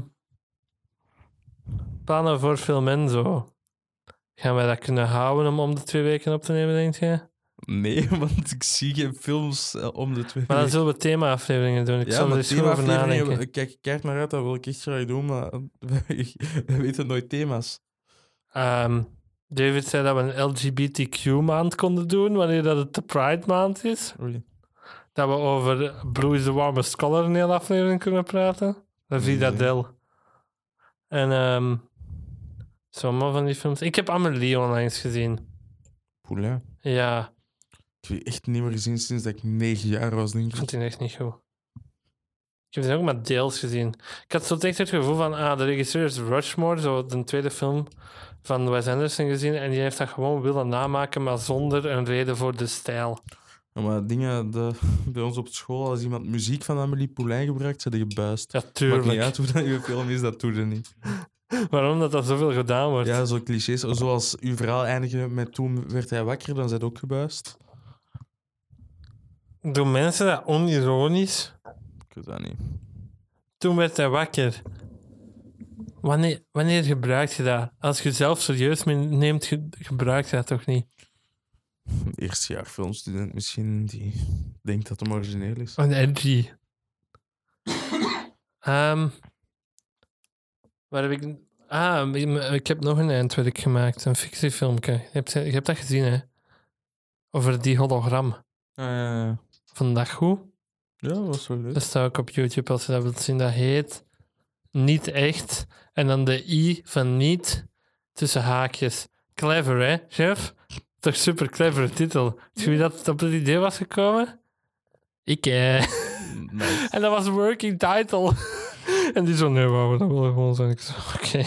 plannen voor film en zo. Gaan wij dat kunnen houden om om de twee weken op te nemen, denk je?
Nee, want ik zie geen films eh, om de twee
Maar dan
weken.
zullen we thema-afleveringen doen. Ik
ja,
zal er
maar
eens goed over
thema-afleveringen,
nadenken.
ik kijk ik kijk naar uit, dat wil ik echt graag doen, maar eh, wij, wij weten nooit thema's.
Ehm, David zei dat we een LGBTQ-maand konden doen, wanneer dat het de Pride-maand is.
Really?
Dat we over Blue is the Warmest Color een hele aflevering kunnen praten. Dat is
Nee, nee.
Del. En ehm zomaar van die films. Ik heb Amelie onlangs gezien.
Poula.
Ja,
Ik heb die echt niet meer gezien sinds dat ik negen jaar was, denk
ik
ik.
vond die echt niet goed. Ik heb die ook maar deels gezien. Ik had zo echt het gevoel van, ah, de regisseur is Rushmore, zo de tweede film van Wes Anderson gezien. En die heeft dat gewoon willen namaken, maar zonder een reden voor de stijl.
Ja, maar dingen de, bij ons op school, als iemand muziek van Amélie Poulain gebruikt, zijn die gebuist.
Ja,
Maakt niet
tuurlijk.
uit hoe dat je film is, dat doet er niet.
Waarom dat dat zoveel gedaan wordt.
Ja, zo clichés. Zoals uw verhaal eindigde met toen werd hij wakker, dan zijn het ook gebuist.
Doen mensen dat onironisch?
Ik weet dat niet.
Toen werd hij wakker. Wanneer, wanneer gebruik je dat? Als je zelf serieus me- neemt, ge- gebruik je dat toch niet?
Eerste jaar filmstudent misschien, die denkt dat hem origineel is.
Een edgy. Ehm, waar heb ik... Ah, ik- ik heb nog een eindwerk gemaakt. Een fictiefilmpje. Je hebt, je hebt dat gezien, hè? Over die hologram.
Eh,
Vandaag goed.
ja, dat was wel leuk.
Dat staat ook op YouTube als je dat wilt zien. Dat heet Niet Echt. En dan de I van niet tussen haakjes. Clever, hè, chef? Toch super clevere titel. Weet je wie dat op het idee was gekomen? Ik, eh.
Nice.
En dat was een working title. en die zo, nee, wauw, dat wil ik gewoon zijn. Ik zo, oké.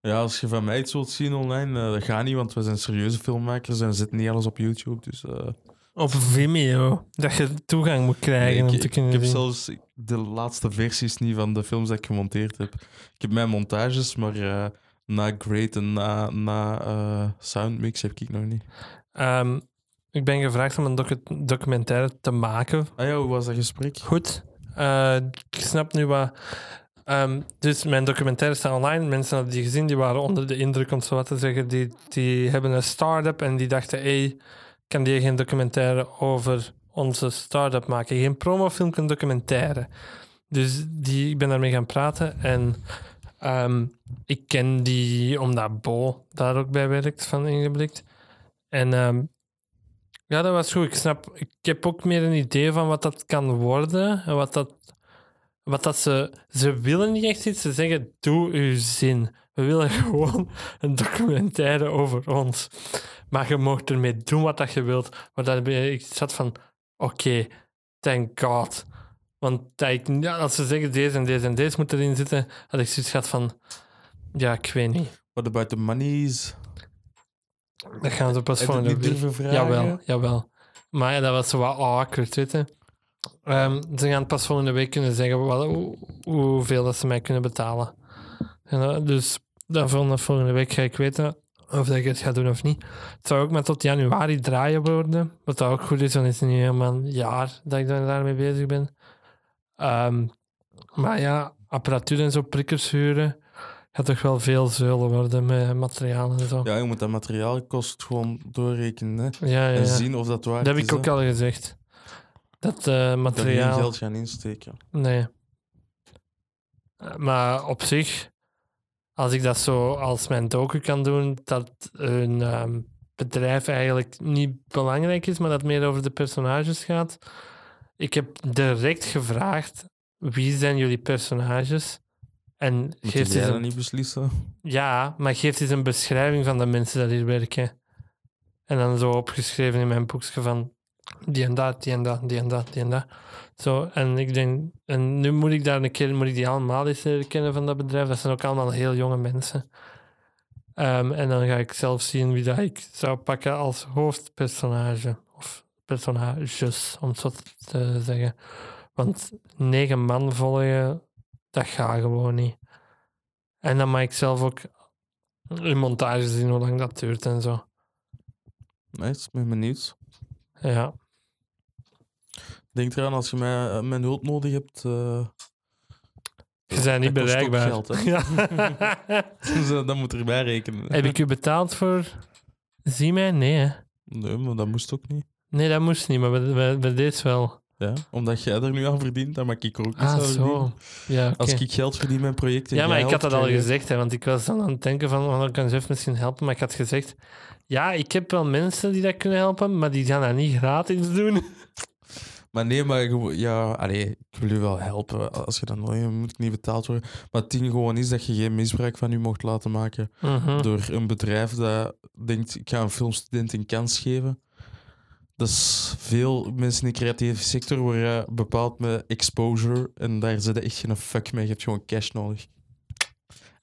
Ja, als je van mij iets wilt zien online, eh, dat gaat niet, want we zijn serieuze filmmakers en zitten niet alles op YouTube. Dus, eh,
Op Vimeo. Dat je toegang moet krijgen
nee,
om
ik,
te
ik
kunnen
heb
zien.
zelfs de laatste versies niet van de films dat ik gemonteerd heb. Ik heb mijn montages, maar eh, na Great en na, na eh, Soundmix heb ik nog niet.
Ehm, ik ben gevraagd om een docu- documentaire te maken
Ah ja, hoe was dat gesprek?
Goed. Eh, ik snap nu wat. Ehm, dus mijn documentaire staat online. Mensen hadden die gezien, die waren onder de indruk, om het zo wat te zeggen. Die, die hebben een start-up en die dachten: hey, kan die geen documentaire over onze start-up maken? Geen promofilm, een documentaire. Dus die, ik ben daarmee gaan praten en ehm, ik ken die omdat Bo daar ook bij werkt van Ingeblikt. En ehm, ja, dat was goed. Ik snap, ik heb ook meer een idee van wat dat kan worden. En wat dat, wat dat ze, ze willen niet echt iets. Ze zeggen, doe uw zin. We willen gewoon een documentaire over ons. Maar je mag ermee doen wat dat je wilt. Maar dan ben ik zat van, oké, thank God. Want dat ik, ja, als ze zeggen, deze en deze en deze moet erin zitten, had ik zoiets gehad van, ja, ik weet niet.
What about the monies?
Dat gaan ze pas
Heb je het
volgende
niet
week
durven vragen?
Jawel, jawel. Maar ja, dat was zo wat awkward, weet je. Ehm, ze gaan pas volgende week kunnen zeggen wat, hoe- hoeveel dat ze mij kunnen betalen. En, eh, dus dan volgende, volgende week ga ik weten of dat ik het ga doen of niet. Het zou ook maar tot januari draaien worden. Wat dat ook goed is, want het is nu helemaal een jaar dat ik daar- daarmee bezig ben. Ehm, maar ja, apparatuur en zo, prikkers huren. gaat toch wel veel zeulen worden met materialen en zo. Ja,
Ja, je moet dat materiaal kost gewoon doorrekenen hè.
Oh. ja. ja.
en zien of dat waar
Dat heb
is.
ik ook al gezegd. Dat eh,
Dat je geen
materiaal.
geld gaan insteken.
Nee. Eh, Maar op zich, als ik dat zo als mijn docu kan doen, dat hun ehm, bedrijf eigenlijk niet belangrijk is, maar dat het meer over de personages gaat. Ik heb direct gevraagd, wie zijn jullie personages? En
Moet
geeft
jij
eens
dat
een,
niet beslissen?
ja, maar geeft eens een beschrijving van de mensen die hier werken. En dan zo opgeschreven in mijn boekje van die en dat, die en dat, die en dat, die en dat. Zo, en ik denk, en nu moet ik daar een keer, moet ik die allemaal eens leren kennen van dat bedrijf. Dat zijn ook allemaal heel jonge mensen. Ehm, en dan ga ik zelf zien wie dat ik zou pakken als hoofdpersonage. Of personages, om het zo te zeggen. Want negen man volgen, dat gaat gewoon niet. En dan mag ik zelf ook in montage zien hoe lang dat duurt en zo.
Nice, ben benieuwd.
Ja,
Denk eraan, als je mij, eh, mijn hulp nodig hebt, eh,
je bent niet
Dat kost ook
bereikbaar.
geld, hè?
ja.
dus, eh, dat moet erbij rekenen.
Heb ik u betaald voor... Zie mij? Nee, hè.
Nee, maar dat moest ook niet.
Nee, dat moest niet, maar bij, bij, bij deze wel.
Ja, omdat jij er nu aan verdient, dan maak ik er ook iets aan
Ah,
verdienen.
zo. Ja, oké.
Als ik geld verdien mijn projecten.
Ja, maar ik had dat al
gezegd.
gezegd, hè, want ik was dan aan het denken van, oh, dan kan Jeff misschien helpen, maar ik had gezegd, ja, ik heb wel mensen die dat kunnen helpen, maar die gaan dat niet gratis doen.
Maar nee, maar gewoon- ja, allee, ik wil u wel helpen. Als je dat nodig hebt, moet ik niet betaald worden. Maar het ding gewoon is dat je geen misbruik van u mocht laten maken
Mhm.
door een bedrijf dat denkt, ik ga een filmstudent een kans geven. Dat is veel mensen in de creatieve sector worden bepaald met exposure en daar zit echt geen fuck mee. Je hebt gewoon cash nodig.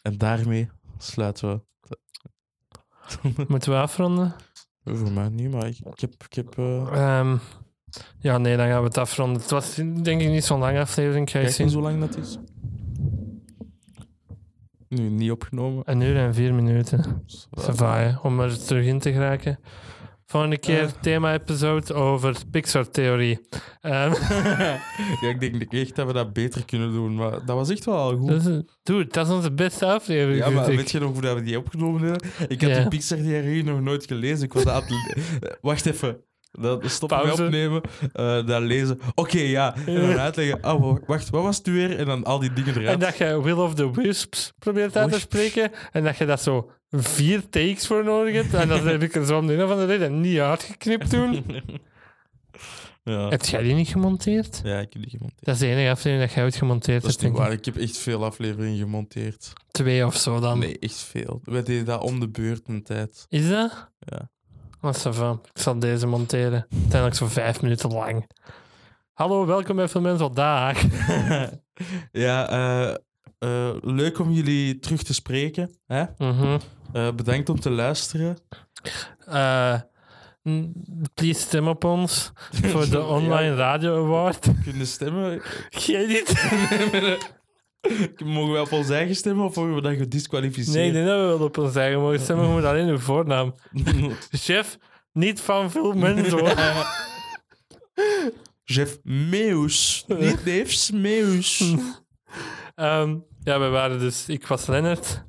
En daarmee sluiten we.
Moeten we afronden?
Voor mij niet, maar ik, ik heb... Ik heb eh,
Ehm, ja, nee, dan gaan we het afronden. Het was denk ik niet zo'n lange aflevering. Ik ga eens
Kijk eens
zien.
hoe lang dat is. Nu niet opgenomen.
Een uur en vier minuten.
Dus, eh,
Savaaien, om er terug in te geraken. Volgende keer
Eh.
thema-episode over Pixar-theorie. Ehm,
ja, ik denk echt dat we dat beter kunnen doen, maar dat was echt wel al goed.
dat is- dus, eh, dude, dat is onze beste aflevering.
Ja, maar
vind ik.
weet je nog hoe dat we die opgenomen hebben? Ik had
Ja.
die Pixar diarree nog nooit gelezen. Ik was dat aan het le- Wacht even. Dat stoppen met
Pauze.
opnemen, eh dat lezen. Oké, ja. En dan uitleggen. Ah, wa- wacht, wat was het nu weer? En dan al die dingen eruit.
En dat je Will of the Wisps probeert uit te
Wisps.
spreken. En dat je dat zo vier takes voor nodig hebt. En dat heb ik er zo om de een of andere reden niet uitgeknipt toen.
Ja.
heb jij die niet gemonteerd?
ja, ik heb die gemonteerd.
Dat is de enige aflevering dat jij ooit gemonteerd
Dat is
hebt.
niet
denk ik.
waar. Ik heb echt veel afleveringen gemonteerd.
Twee of zo dan.
Nee, echt veel. We deden dat om de beurt een tijd.
Is dat?
Ja.
Oh, ça va. Ik zal deze monteren. Uiteindelijk zo vijf minuten lang. Hallo, welkom bij Veel Mensen Vandaag.
ja, eh, eh, leuk om jullie terug te spreken. Hè?
Mhm.
Eh, bedankt om te luisteren.
Eh, n- please stem op ons voor de Online Radio Award.
Kunnen stemmen.
Geen niet.
Mogen we op ons eigen stemmen of worden we dan
Nee, ik
gedisqualificeerd?
denk dat we wel op ons eigen mogen stemmen. We moeten alleen uw voornaam. Chef, niet van Veel Mensen. hoor.
Jeff Meus. Niet Neefs, Meus.
Ehm, ja, we waren dus... Ik was Lennart.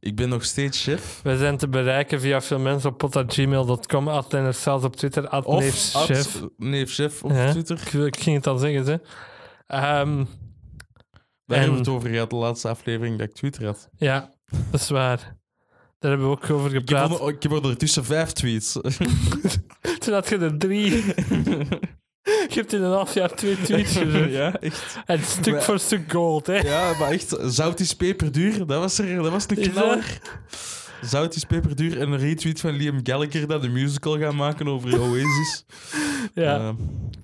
Ik ben nog steeds chef.
We zijn te bereiken via veelmensenpot.gmail.com. At Lennart zelfs op Twitter. At
Of
Neefs
at
Chef.
Neef Chef op
Ja.
Twitter.
Ik, ik ging het al zeggen, hè. Ehm,
Daar
En-
hebben we het over gehad, de laatste aflevering dat ik Twitter had.
ja, dat is waar. Daar hebben we ook over
Ik heb,
gepraat.
onder- ik heb ondertussen vijf tweets.
Toen had je er drie. je hebt in een half jaar twee tweets gezet.
ja, echt.
En stuk
Maar-
voor stuk gold, hè.
Ja, maar echt, zout is peperduur. Dat was, er, dat was een
Is
knaller. Zout is peperduur en een retweet van Liam Gallagher dat de musical gaat maken over Oasis.
Ja,
Eh,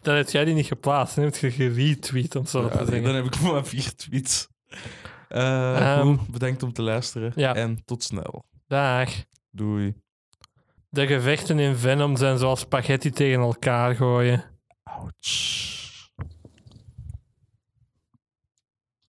dan heb jij die niet geplaatst. Dan heb je geretweet, om zo
ja,
te zeggen.
dan heb ik maar vier tweets. Eh,
Ehm,
goed, bedankt om te luisteren
ja.
en tot snel.
Dag.
Doei.
De gevechten in Venom zijn zoals spaghetti tegen elkaar gooien.
Ouch.